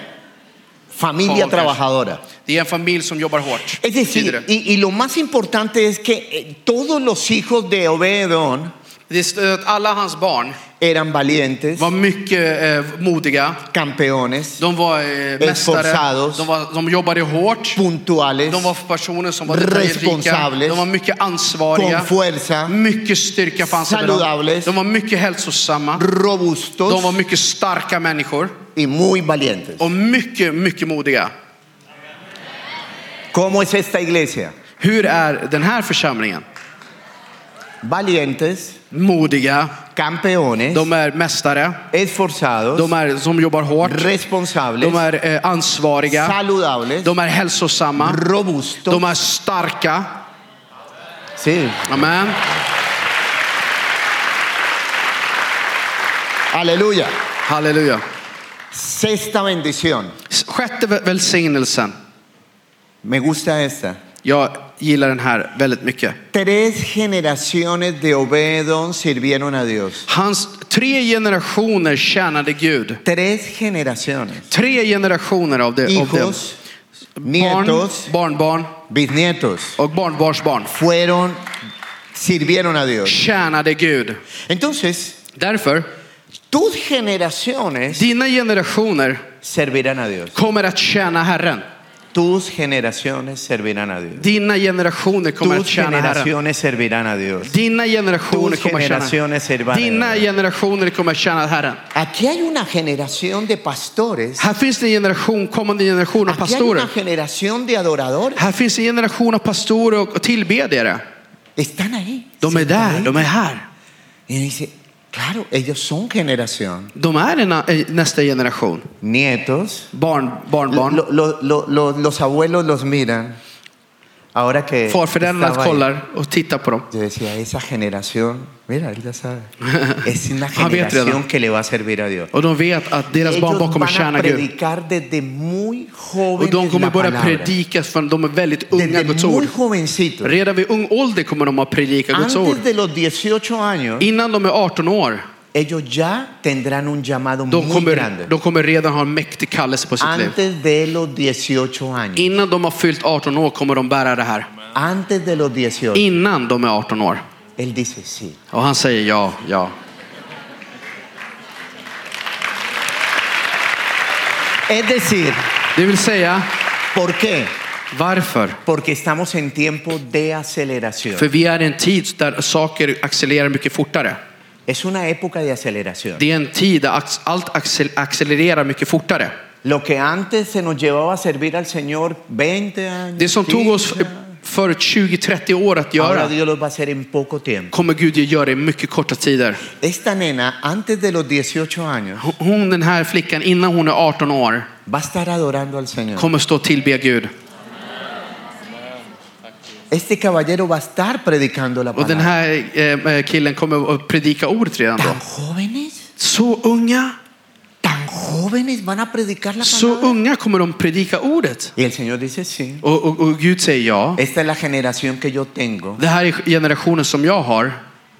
Speaker 1: familia
Speaker 2: Pocas.
Speaker 1: trabajadora.
Speaker 2: Det är en familj som jobbar hårt.
Speaker 1: Es
Speaker 2: betyder
Speaker 1: decir,
Speaker 2: det.
Speaker 1: y, y lo más importante es que eh, todos los hijos de Obedón
Speaker 2: det står att alla hans barn
Speaker 1: eran valientes,
Speaker 2: var mycket eh, modiga.
Speaker 1: campeones,
Speaker 2: De var eh, mästare.
Speaker 1: Esforzados.
Speaker 2: De, var, de jobbade hårt.
Speaker 1: puntuales,
Speaker 2: De var personer som var detaljrika.
Speaker 1: Responsables.
Speaker 2: De var mycket ansvariga.
Speaker 1: con fuerza,
Speaker 2: Mycket styrka fanns över dem.
Speaker 1: Saludables.
Speaker 2: De var mycket hälsosamma. De var
Speaker 1: robustos
Speaker 2: mycket starka människor.
Speaker 1: y muy valientes.
Speaker 2: Och mycket, mycket modiga.
Speaker 1: ¿Cómo es esta iglesia?
Speaker 2: Hur är den här församlingen?
Speaker 1: Valientes,
Speaker 2: Modiga.
Speaker 1: campeones,
Speaker 2: De är mästare.
Speaker 1: esforzados,
Speaker 2: De är som jobbar hårt.
Speaker 1: responsables,
Speaker 2: De är eh, ansvariga.
Speaker 1: saludables,
Speaker 2: De är hälsosamma.
Speaker 1: robustos.
Speaker 2: De är starka.
Speaker 1: Sí.
Speaker 2: Amen.
Speaker 1: Aleluya.
Speaker 2: Halleluja.
Speaker 1: Sexta bendición.
Speaker 2: S- Sjätte vä- välsignelsen.
Speaker 1: Me gusta esta.
Speaker 2: Jag gillar den här väldigt mycket.
Speaker 1: Tres generaciones de Obedón sirvieron a Dios.
Speaker 2: Hans tre generationer tjänade Gud.
Speaker 1: Tres generaciones.
Speaker 2: Tre generationer av det. Av det.
Speaker 1: Hijos,
Speaker 2: Barn,
Speaker 1: nietos,
Speaker 2: barnbarn
Speaker 1: bisnietos.
Speaker 2: och barnbarnsbarn
Speaker 1: fueron, sirvieron a Dios.
Speaker 2: tjänade Gud.
Speaker 1: Entonces,
Speaker 2: Därför,
Speaker 1: tus generaciones
Speaker 2: dina generationer
Speaker 1: servirán a Dios.
Speaker 2: kommer att tjäna Herren.
Speaker 1: Tus generaciones servirán a Dios.
Speaker 2: Dina generationer kommer att
Speaker 1: Tus
Speaker 2: tjäna Herren.
Speaker 1: generaciones servirán a Dios.
Speaker 2: Dina generationer
Speaker 1: Tus
Speaker 2: kommer att
Speaker 1: generaciones
Speaker 2: tjäna
Speaker 1: servirán a
Speaker 2: Dina
Speaker 1: Herren.
Speaker 2: generationer kommer att tjäna Herren.
Speaker 1: Aquí hay una generación de pastores.
Speaker 2: Här finns det en generation, kommande generation av
Speaker 1: Aquí hay
Speaker 2: pastorer.
Speaker 1: una generación de adoradores.
Speaker 2: Här finns en generation av pastorer och och tillbedjare.
Speaker 1: Están ahí.
Speaker 2: De är där, de är här.
Speaker 1: Y dice, claro, ellos son generación.
Speaker 2: De är en, eh, nästa generation.
Speaker 1: Nietos.
Speaker 2: Barn, barnbarn.
Speaker 1: Lo- lo- lo- lo- los abuelos los miran. Ahora que
Speaker 2: Farföräldrarna
Speaker 1: estaba ahí.
Speaker 2: kollar och tittar på dem.
Speaker 1: Yo decía, esa generación, mira, él ya sabe, es una
Speaker 2: Ah, bien,
Speaker 1: generación
Speaker 2: Triana.
Speaker 1: que le va a servir a Dios.
Speaker 2: Och de vet att deras barnbarn
Speaker 1: Ellos
Speaker 2: kommer
Speaker 1: van
Speaker 2: tjäna
Speaker 1: a
Speaker 2: Gud.
Speaker 1: predicar desde muy
Speaker 2: Och de
Speaker 1: jóvenes
Speaker 2: kommer
Speaker 1: la
Speaker 2: börja
Speaker 1: palabra.
Speaker 2: predika för de är väldigt unga Guds
Speaker 1: Desde
Speaker 2: ord.
Speaker 1: muy jovencitos.
Speaker 2: Redan vid ung ålder kommer de att predika Guds ord.
Speaker 1: Antes de los 18 años,
Speaker 2: Innan de är 18 år,
Speaker 1: ellos ya tendrán un llamado
Speaker 2: de
Speaker 1: muy
Speaker 2: kommer,
Speaker 1: grande.
Speaker 2: de kommer redan ha en mäktig kallelse på sitt liv.
Speaker 1: Antes de los 18 años.
Speaker 2: Innan de har fyllt 18 år kommer de bära det här.
Speaker 1: Antes de los 18.
Speaker 2: Innan de är 18 år.
Speaker 1: Él dice, sí.
Speaker 2: Och han säger ja, ja.
Speaker 1: Es decir,
Speaker 2: Det vill säga,
Speaker 1: ¿por qué?
Speaker 2: Varför?
Speaker 1: Porque estamos en tiempo de aceleración.
Speaker 2: För vi är i en tid där saker accelererar mycket fortare.
Speaker 1: Es una época de aceleración.
Speaker 2: Det är en tid där ax- allt accel- accelererar mycket fortare.
Speaker 1: Lo que antes se nos llevaba a servir al Señor 20 años,
Speaker 2: Det som tog oss
Speaker 1: 15,
Speaker 2: för 20-30 år att
Speaker 1: ahora
Speaker 2: göra
Speaker 1: Dios lo va a hacer en poco tiempo.
Speaker 2: kommer Gud att göra i mycket korta tider.
Speaker 1: Esta nena, antes de los 18 años,
Speaker 2: Hon, den här flickan, innan hon är 18 år
Speaker 1: va a estar adorando al Señor.
Speaker 2: kommer stå och tillbe Gud.
Speaker 1: Este caballero va a estar predicando la
Speaker 2: Och den
Speaker 1: palabra.
Speaker 2: här eh, killen kommer att predika ordet redan då.
Speaker 1: Tan jóvenes,
Speaker 2: Så unga,
Speaker 1: tan jóvenes van a predicar la
Speaker 2: så
Speaker 1: palabra.
Speaker 2: unga kommer de predika ordet.
Speaker 1: Y el Señor dice, sí,
Speaker 2: Och, och, och Gud säger ja.
Speaker 1: esta es la generación que yo tengo,
Speaker 2: Det här är generationen som jag har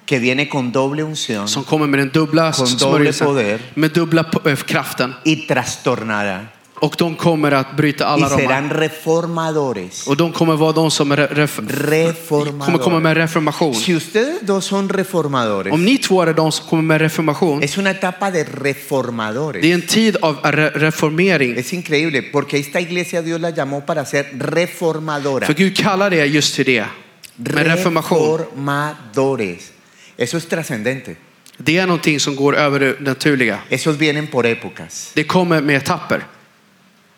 Speaker 1: que viene con doble unción
Speaker 2: som kommer med den dubbla
Speaker 1: Con doble
Speaker 2: smörjelsen,
Speaker 1: poder.
Speaker 2: med dubbla po- eh, kraften.
Speaker 1: y trastornada.
Speaker 2: Och de kommer att bryta
Speaker 1: Y
Speaker 2: alla ramar.
Speaker 1: serán reformadores.
Speaker 2: Och de kommer vara de som re, ref, kommer komma
Speaker 1: Reformadores.
Speaker 2: med reformation.
Speaker 1: Si ustedes dos son reformadores,
Speaker 2: Om ni två är de som kommer med reformation,
Speaker 1: es una etapa de
Speaker 2: det är
Speaker 1: reformadores.
Speaker 2: en tid av re, reformering.
Speaker 1: Es increíble, porque esta iglesia Dios la llamó para ser reformadora.
Speaker 2: För Gud kallar det just till det. Med reformation.
Speaker 1: Reformadores. Eso es trascendente.
Speaker 2: Det är någonting som går över det naturliga.
Speaker 1: Esos vienen por épocas.
Speaker 2: Det kommer med etapper.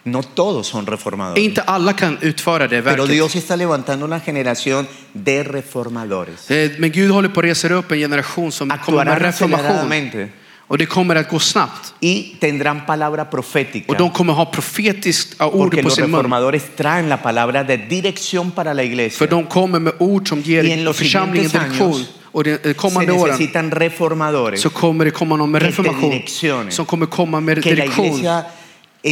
Speaker 1: No todos son reformadores.
Speaker 2: Inte alla kan utföra det
Speaker 1: Pero
Speaker 2: verket.
Speaker 1: Dios está levantando una generación de reformadores.
Speaker 2: Eh, Men Gud håller på att resa upp en generation som kommer med
Speaker 1: Actuarán
Speaker 2: reformation.
Speaker 1: aceleradamente
Speaker 2: Och det kommer att gå snabbt.
Speaker 1: y tendrán palabra profética.
Speaker 2: Och de kommer ha profetiskt eh,
Speaker 1: Porque
Speaker 2: ord på
Speaker 1: los
Speaker 2: sin mun.
Speaker 1: reformadores traen la palabra de dirección para la
Speaker 2: För
Speaker 1: iglesia.
Speaker 2: de kommer med ord som
Speaker 1: Y en
Speaker 2: ger
Speaker 1: los
Speaker 2: församlingen
Speaker 1: siguientes
Speaker 2: direktion.
Speaker 1: años
Speaker 2: Och de eh,
Speaker 1: Se
Speaker 2: kommande åren
Speaker 1: necesitan reformadores.
Speaker 2: så kommer det komma någon med
Speaker 1: que te
Speaker 2: reformation
Speaker 1: direccione.
Speaker 2: som kommer komma med
Speaker 1: Que la
Speaker 2: direktion.
Speaker 1: iglesia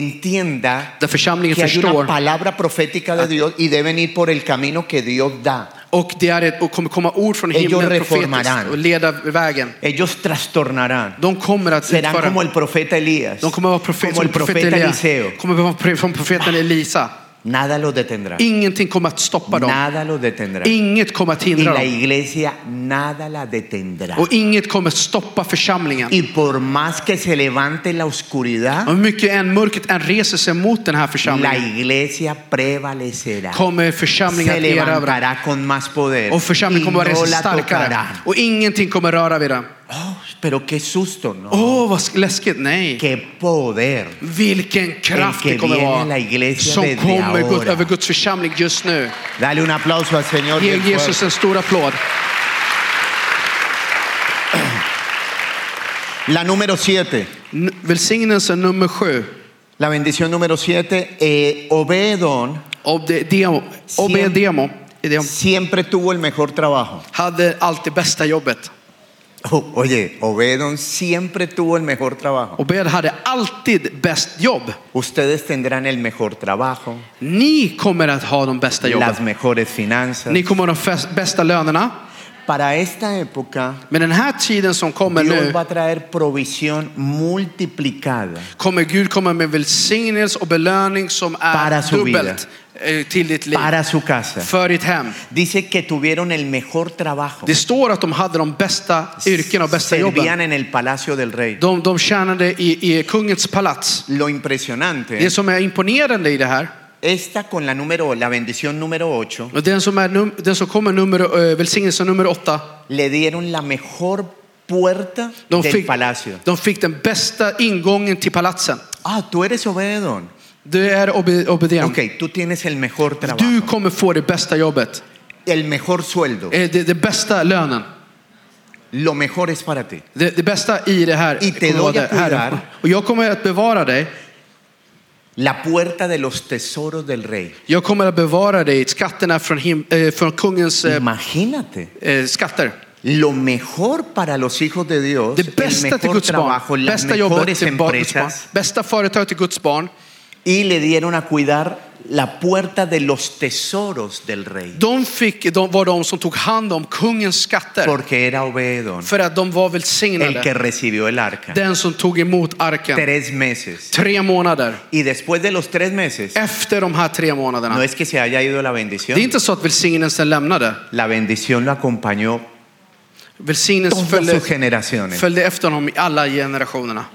Speaker 1: entienda
Speaker 2: Där församlingen
Speaker 1: que hay una
Speaker 2: förstår.
Speaker 1: palabra profética de Dios y deben ir por el camino que Dios da.
Speaker 2: Och det är ett, och kommer komma ord från
Speaker 1: Ellos
Speaker 2: himlen profetiskt
Speaker 1: reformarán.
Speaker 2: och leda vägen.
Speaker 1: Ellos trastornarán.
Speaker 2: De kommer att
Speaker 1: Serán
Speaker 2: utföra.
Speaker 1: como el profeta Elías,
Speaker 2: De kommer att vara profet,
Speaker 1: como
Speaker 2: som
Speaker 1: el
Speaker 2: profeten
Speaker 1: profeta Eliseo.
Speaker 2: Elia. Kommer att vara pre- som profeten Elisa.
Speaker 1: Nada los detendrá.
Speaker 2: Ingenting kommer att stoppa dem.
Speaker 1: Nada los detendrá. Y
Speaker 2: Inget kommer att hindra
Speaker 1: la
Speaker 2: dem.
Speaker 1: iglesia nada la detendrá.
Speaker 2: Och inget kommer att stoppa församlingen.
Speaker 1: Y por más que se levante la oscuridad,
Speaker 2: Och hur mycket än mörkret än reser sig mot den här
Speaker 1: la
Speaker 2: församlingen
Speaker 1: iglesia prevalecerá.
Speaker 2: kommer församlingen
Speaker 1: Se
Speaker 2: att erövra.
Speaker 1: levantará con más poder.
Speaker 2: Och församlingen
Speaker 1: Y
Speaker 2: kommer att
Speaker 1: no
Speaker 2: resa sig
Speaker 1: la
Speaker 2: starkare.
Speaker 1: tocarán.
Speaker 2: Och ingenting kommer röra vid den.
Speaker 1: Oh, pero qué susto, ¿no?
Speaker 2: Åh, vad sk- läskigt. Nej.
Speaker 1: Qué poder.
Speaker 2: Vilken kraft
Speaker 1: El
Speaker 2: det
Speaker 1: que
Speaker 2: kommer
Speaker 1: viene la
Speaker 2: vara
Speaker 1: iglesia
Speaker 2: som
Speaker 1: desde
Speaker 2: kommer gå
Speaker 1: ahora.
Speaker 2: över Guds församling just nu.
Speaker 1: Dale un aplauso al Señor.
Speaker 2: Ge
Speaker 1: bien fuerte.
Speaker 2: Jesus en stor applåd.
Speaker 1: La número siete,
Speaker 2: N- Välsignelse nummer sju.
Speaker 1: la bendición número siete, eh, Obedón
Speaker 2: Obde- demo- Obedemo Edemo
Speaker 1: siempre tuvo el mejor trabajo.
Speaker 2: hade alltid bästa jobbet.
Speaker 1: Oh, oye, Obedón siempre tuvo el mejor trabajo.
Speaker 2: Obed hade alltid bäst jobb.
Speaker 1: Ustedes tendrán el mejor trabajo,
Speaker 2: Ni kommer att ha de bästa jobben.
Speaker 1: las mejores finanzas.
Speaker 2: Ni kommer att ha de fest- bästa lönerna.
Speaker 1: Para esta época,
Speaker 2: Men den här tiden som kommer nu
Speaker 1: Dios va a traer provisión multiplicada.
Speaker 2: kommer Gud komma med välsignelse och belöning som
Speaker 1: Para
Speaker 2: är
Speaker 1: su vida.
Speaker 2: dubbelt eh, till ditt liv.
Speaker 1: para su casa.
Speaker 2: För ditt hem.
Speaker 1: Dice que tuvieron el mejor trabajo.
Speaker 2: Det står att de hade de bästa yrkena och bästa jobben.
Speaker 1: Servían en el palacio del rey.
Speaker 2: De, de tjänade i, i kungens palats.
Speaker 1: Lo impresionante,
Speaker 2: Det som är imponerande i det här,
Speaker 1: esta con la número, la bendición número 8,
Speaker 2: och den som, är num, den som kommer nummer, eh, välsignelse nummer åtta,
Speaker 1: le dieron la mejor puerta
Speaker 2: de
Speaker 1: del
Speaker 2: fick,
Speaker 1: palacio.
Speaker 2: de fick den bästa ingången till palatsen.
Speaker 1: Ah, tú eres Obededón.
Speaker 2: Du är Obe- Obedem.
Speaker 1: Ok, tú tienes el mejor trabajo,
Speaker 2: Du kommer få det bästa jobbet,
Speaker 1: el mejor sueldo.
Speaker 2: Eh, det, det bästa lönen.
Speaker 1: Lo mejor es para ti.
Speaker 2: Det, det bästa i det här.
Speaker 1: Y te
Speaker 2: kommer vara
Speaker 1: doy a
Speaker 2: det här.
Speaker 1: cuidar.
Speaker 2: Och jag kommer att bevara dig.
Speaker 1: La puerta de los tesoros del rey.
Speaker 2: Jag kommer att bevara dig. Skatterna från, him, eh, från kungens
Speaker 1: Mm.
Speaker 2: eh,
Speaker 1: Imagínate.
Speaker 2: eh, skatter.
Speaker 1: Lo mejor para los hijos de Dios,
Speaker 2: Det
Speaker 1: el
Speaker 2: bästa till
Speaker 1: mejor
Speaker 2: Guds
Speaker 1: trabajo,
Speaker 2: barn.
Speaker 1: las
Speaker 2: Bästa jobbet
Speaker 1: mejores
Speaker 2: till bar- Guds barn.
Speaker 1: empresas
Speaker 2: Bästa företag till Guds barn.
Speaker 1: y le dieron a cuidar la puerta de los tesoros del rey,
Speaker 2: De, fick, de var de som tog hand om kungens skatter.
Speaker 1: porque era Obedón
Speaker 2: För att de var
Speaker 1: el que
Speaker 2: välsignade.
Speaker 1: recibió el arca.
Speaker 2: Den som tog emot arken.
Speaker 1: Tres meses.
Speaker 2: Tre månader.
Speaker 1: Y después de los tres meses,
Speaker 2: Efter de här tre
Speaker 1: no
Speaker 2: månaderna.
Speaker 1: es que se haya ido la
Speaker 2: Det
Speaker 1: bendición,
Speaker 2: är inte så att välsignelsen lämnade.
Speaker 1: la bendición lo acompañó
Speaker 2: Välsignelsen
Speaker 1: todas sus
Speaker 2: följde,
Speaker 1: generaciones.
Speaker 2: följde efter honom i alla generationerna.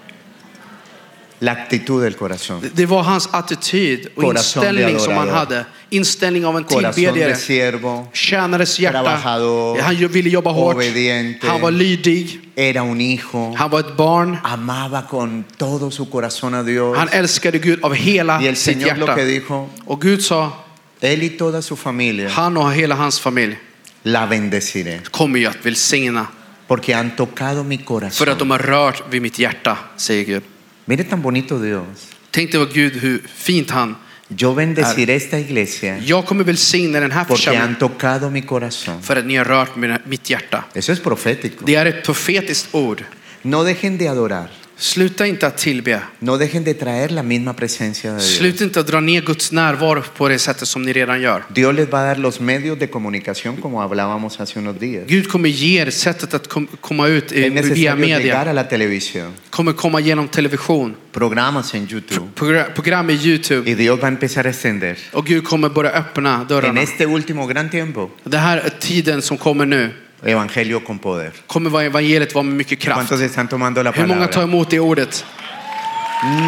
Speaker 1: La actitud del corazón.
Speaker 2: Det var hans attityd och
Speaker 1: Corazón de
Speaker 2: inställning som han
Speaker 1: adorador.
Speaker 2: hade. Inställning av en
Speaker 1: Corazón de
Speaker 2: tillbedjare.
Speaker 1: siervo.
Speaker 2: Tjänarens hjärta.
Speaker 1: Trabajador.
Speaker 2: Han ville jobba hårt.
Speaker 1: Obediente.
Speaker 2: Han var lydig.
Speaker 1: Era un hijo.
Speaker 2: Han var ett barn.
Speaker 1: Amaba con todo su corazón a Dios.
Speaker 2: Han älskade Gud av
Speaker 1: Y
Speaker 2: hela
Speaker 1: el
Speaker 2: sitt
Speaker 1: Señor lo
Speaker 2: hjärta.
Speaker 1: que dijo,
Speaker 2: Och Gud sa,
Speaker 1: él y toda su familia
Speaker 2: han och hela hans familj
Speaker 1: la bendeciré.
Speaker 2: kommer ju att välsigna.
Speaker 1: Porque han tocado mi
Speaker 2: För att
Speaker 1: corazón.
Speaker 2: de har rört vid mitt hjärta, säger Gud.
Speaker 1: Mire tan bonito Dios.
Speaker 2: Tänk dig vad Gud, hur fint han.
Speaker 1: Yo bendeciré esta iglesia
Speaker 2: Jag kommer välsigna den här
Speaker 1: porque han
Speaker 2: församlingen
Speaker 1: tocado mi corazón.
Speaker 2: för att ni har rört mina- mitt hjärta.
Speaker 1: Eso es profético.
Speaker 2: Det är ett profetiskt ord.
Speaker 1: No dejen de adorar.
Speaker 2: Sluta inte att tillbe.
Speaker 1: No dejen de traer la misma presencia de Dios.
Speaker 2: Sluta inte att dra ner Guds närvaro på det sättet som ni redan gör.
Speaker 1: Dios les va a dar los medios de comunicación como hablábamos hace unos días.
Speaker 2: Gud kommer ge er sättet att kom, komma ut eh,
Speaker 1: Es
Speaker 2: via
Speaker 1: necesario llegar
Speaker 2: media.
Speaker 1: a la televisión,
Speaker 2: Kommer komma genom television,
Speaker 1: programas en YouTube
Speaker 2: progra- program i Youtube.
Speaker 1: y Dios va a empezar a extender.
Speaker 2: Och Gud kommer börja öppna
Speaker 1: En
Speaker 2: dörrarna.
Speaker 1: este último gran tiempo,
Speaker 2: Den här tiden som kommer nu
Speaker 1: evangelio con poder.
Speaker 2: kommer va- evangeliet vara med mycket kraft.
Speaker 1: ¿Cuántos están tomando la
Speaker 2: Hur många tar
Speaker 1: palabra?
Speaker 2: emot det ordet?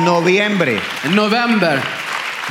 Speaker 1: Noviembre,
Speaker 2: November,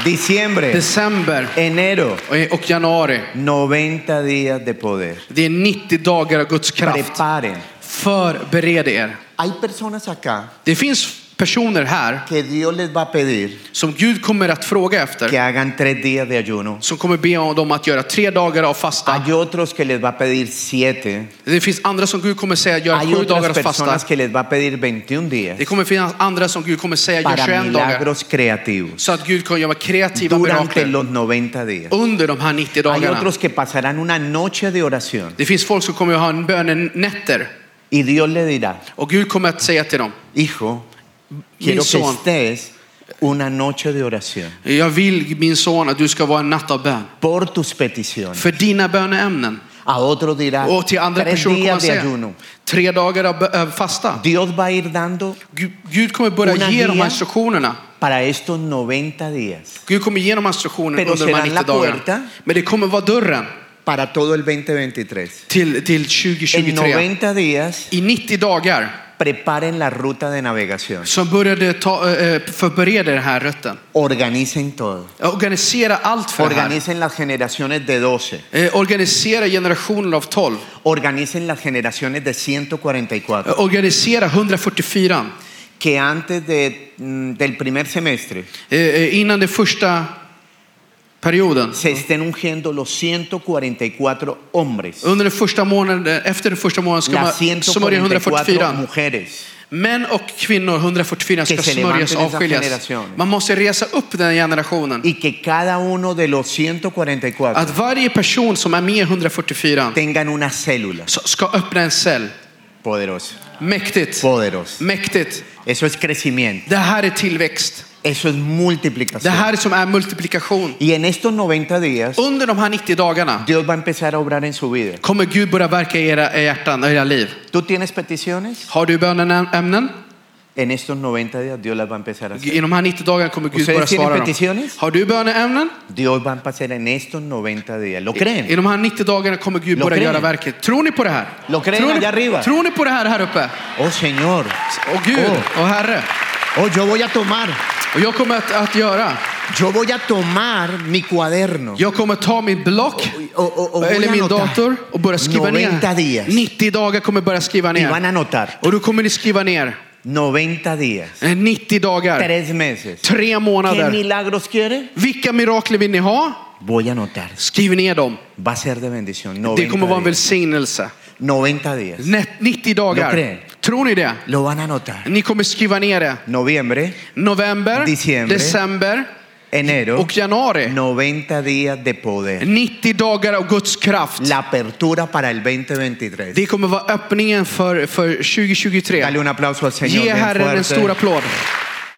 Speaker 1: diciembre,
Speaker 2: december
Speaker 1: enero,
Speaker 2: och- och januari.
Speaker 1: 90 días de poder.
Speaker 2: Det är 90 dagar av Guds kraft.
Speaker 1: Preparen.
Speaker 2: Förbered er.
Speaker 1: Hay personas acá
Speaker 2: Det finns personer här
Speaker 1: que Dios les va a pedir
Speaker 2: som Gud kommer att fråga
Speaker 1: que
Speaker 2: efter.
Speaker 1: hagan tres días de ayuno.
Speaker 2: Som kommer be om dem att göra tre dagar av fasta.
Speaker 1: Hay otros que les va a pedir siete.
Speaker 2: Det finns andra som Gud kommer säga gör
Speaker 1: Hay
Speaker 2: sju dagar
Speaker 1: otras
Speaker 2: av fasta.
Speaker 1: personas que les va a pedir 21 días
Speaker 2: Det kommer finnas andra som Gud kommer säga gör
Speaker 1: para
Speaker 2: 21 dagar.
Speaker 1: milagros creativos
Speaker 2: Så att Gud kan göra kreativa
Speaker 1: durante
Speaker 2: mirakler
Speaker 1: los 90 días.
Speaker 2: under de här 90
Speaker 1: Hay
Speaker 2: dagarna.
Speaker 1: otros que pasarán una noche de oración
Speaker 2: Det finns folk som kommer att ha en bönenätter.
Speaker 1: y Dios le dirá,
Speaker 2: Och Gud kommer att säga till dem,
Speaker 1: hijo, quiero
Speaker 2: min
Speaker 1: que
Speaker 2: son,
Speaker 1: estés una noche de oración
Speaker 2: jag vill min son att du ska vara en natt av bön.
Speaker 1: por tus peticiones.
Speaker 2: För dina böneämnen.
Speaker 1: A otros dirá,
Speaker 2: Och till andra
Speaker 1: tres
Speaker 2: personer kommer han
Speaker 1: días de
Speaker 2: säga,
Speaker 1: ayuno.
Speaker 2: tre dagar av bö- av fasta.
Speaker 1: Dios va a ir dando
Speaker 2: Gud, Gud kommer börja
Speaker 1: Una
Speaker 2: ge de här
Speaker 1: guía.
Speaker 2: instruktionerna.
Speaker 1: para estos 90 días,
Speaker 2: Gud kommer ge de här instruktionerna
Speaker 1: Pero
Speaker 2: under de här
Speaker 1: serán la
Speaker 2: 90 dagarna.
Speaker 1: puerta.
Speaker 2: Men det kommer vara dörren
Speaker 1: para todo el 2023.
Speaker 2: till, till
Speaker 1: En
Speaker 2: 2023.
Speaker 1: 90 días,
Speaker 2: I 90 dagar
Speaker 1: preparen la ruta de navegación.
Speaker 2: så började ta, eh, förbereda den här rötten.
Speaker 1: Organicen todo.
Speaker 2: Organisera allt för det här.
Speaker 1: Organicen las generaciones de 12.
Speaker 2: Eh, Organisera generationer av 12.
Speaker 1: Organicen las generaciones de 144.
Speaker 2: Eh, Organisera 144.
Speaker 1: Que antes de, mm, del primer semestre
Speaker 2: Eh, eh, Innan den första perioden.
Speaker 1: se estén ungiendo los 144 hombres,
Speaker 2: Under den första månaden, efter den första månaden ska man
Speaker 1: las
Speaker 2: smörja
Speaker 1: 144
Speaker 2: 144.
Speaker 1: mujeres.
Speaker 2: Män och kvinnor, 144, ska
Speaker 1: Que se
Speaker 2: smörjas och
Speaker 1: levanten esas
Speaker 2: avskiljas.
Speaker 1: generaciones.
Speaker 2: Man måste resa upp den generationen.
Speaker 1: Y que cada uno de los 144
Speaker 2: Att varje person som är med i 144
Speaker 1: tengan una célula.
Speaker 2: s- ska öppna en cell.
Speaker 1: Poderoso,
Speaker 2: Mäktigt.
Speaker 1: poderoso.
Speaker 2: Mäktigt.
Speaker 1: Eso es crecimiento,
Speaker 2: Det här är tillväxt.
Speaker 1: eso es
Speaker 2: Det
Speaker 1: multiplicación.
Speaker 2: här som är multiplikation.
Speaker 1: Y en estos 90 días,
Speaker 2: Under de här 90 dagarna
Speaker 1: Dios va a empezar a obrar en su vida.
Speaker 2: kommer Gud börja verka i era i hjärtan och era liv.
Speaker 1: ¿Tú tienes peticiones?
Speaker 2: Har du böneämnen?
Speaker 1: En estos 90 días Dios las va a empezar a hacer.
Speaker 2: I de här 90 dagarna kommer Gud
Speaker 1: Ustedes
Speaker 2: börja
Speaker 1: tienen
Speaker 2: svara dem.
Speaker 1: peticiones?
Speaker 2: Har du böneämnen?
Speaker 1: Dios va a empezar en estos 90 días. ¿Lo creen?
Speaker 2: I de här 90 dagarna kommer Gud
Speaker 1: Lo
Speaker 2: börja
Speaker 1: creen.
Speaker 2: göra verket. Tror ni på det här?
Speaker 1: Lo creen
Speaker 2: tror,
Speaker 1: allá
Speaker 2: ni,
Speaker 1: arriba.
Speaker 2: tror ni på det här här uppe?
Speaker 1: Oh Señor,
Speaker 2: Och Gud
Speaker 1: Oh.
Speaker 2: och Herre.
Speaker 1: oh yo voy a tomar,
Speaker 2: Och jag kommer att, att göra.
Speaker 1: yo voy a tomar mi cuaderno.
Speaker 2: Jag kommer ta min block
Speaker 1: O- o- o voy
Speaker 2: eller
Speaker 1: a
Speaker 2: min
Speaker 1: anotar
Speaker 2: dator och börja skriva
Speaker 1: 90
Speaker 2: ner.
Speaker 1: días.
Speaker 2: 90 dagar kommer jag börja skriva
Speaker 1: Y van a
Speaker 2: ner.
Speaker 1: anotar
Speaker 2: Och då kommer ni skriva ner
Speaker 1: 90 días,
Speaker 2: eh, 90 dagar,
Speaker 1: tres meses.
Speaker 2: tre
Speaker 1: ¿Qué
Speaker 2: månader.
Speaker 1: milagros quiere?
Speaker 2: Vilka mirakler vill ni ha?
Speaker 1: Voy a anotar.
Speaker 2: Skriv ner dem.
Speaker 1: Va a ser de bendición.
Speaker 2: Det kommer vara
Speaker 1: 90
Speaker 2: en
Speaker 1: días.
Speaker 2: välsignelse.
Speaker 1: 90 días.
Speaker 2: Nä- 90
Speaker 1: Lo
Speaker 2: dagar.
Speaker 1: creen.
Speaker 2: Tror ni det?
Speaker 1: Lo van a anotar.
Speaker 2: Ni kommer skriva ner det.
Speaker 1: Noviembre,
Speaker 2: November,
Speaker 1: Diciembre.
Speaker 2: december
Speaker 1: enero,
Speaker 2: och januari.
Speaker 1: 90 días de poder.
Speaker 2: 90 dagar av Guds kraft.
Speaker 1: La apertura para el 2023.
Speaker 2: Det kommer vara öppningen för, för 2023.
Speaker 1: Dale un aplauso al Señor.
Speaker 2: Ge
Speaker 1: bien
Speaker 2: Herren en
Speaker 1: fuerte.
Speaker 2: stor applåd.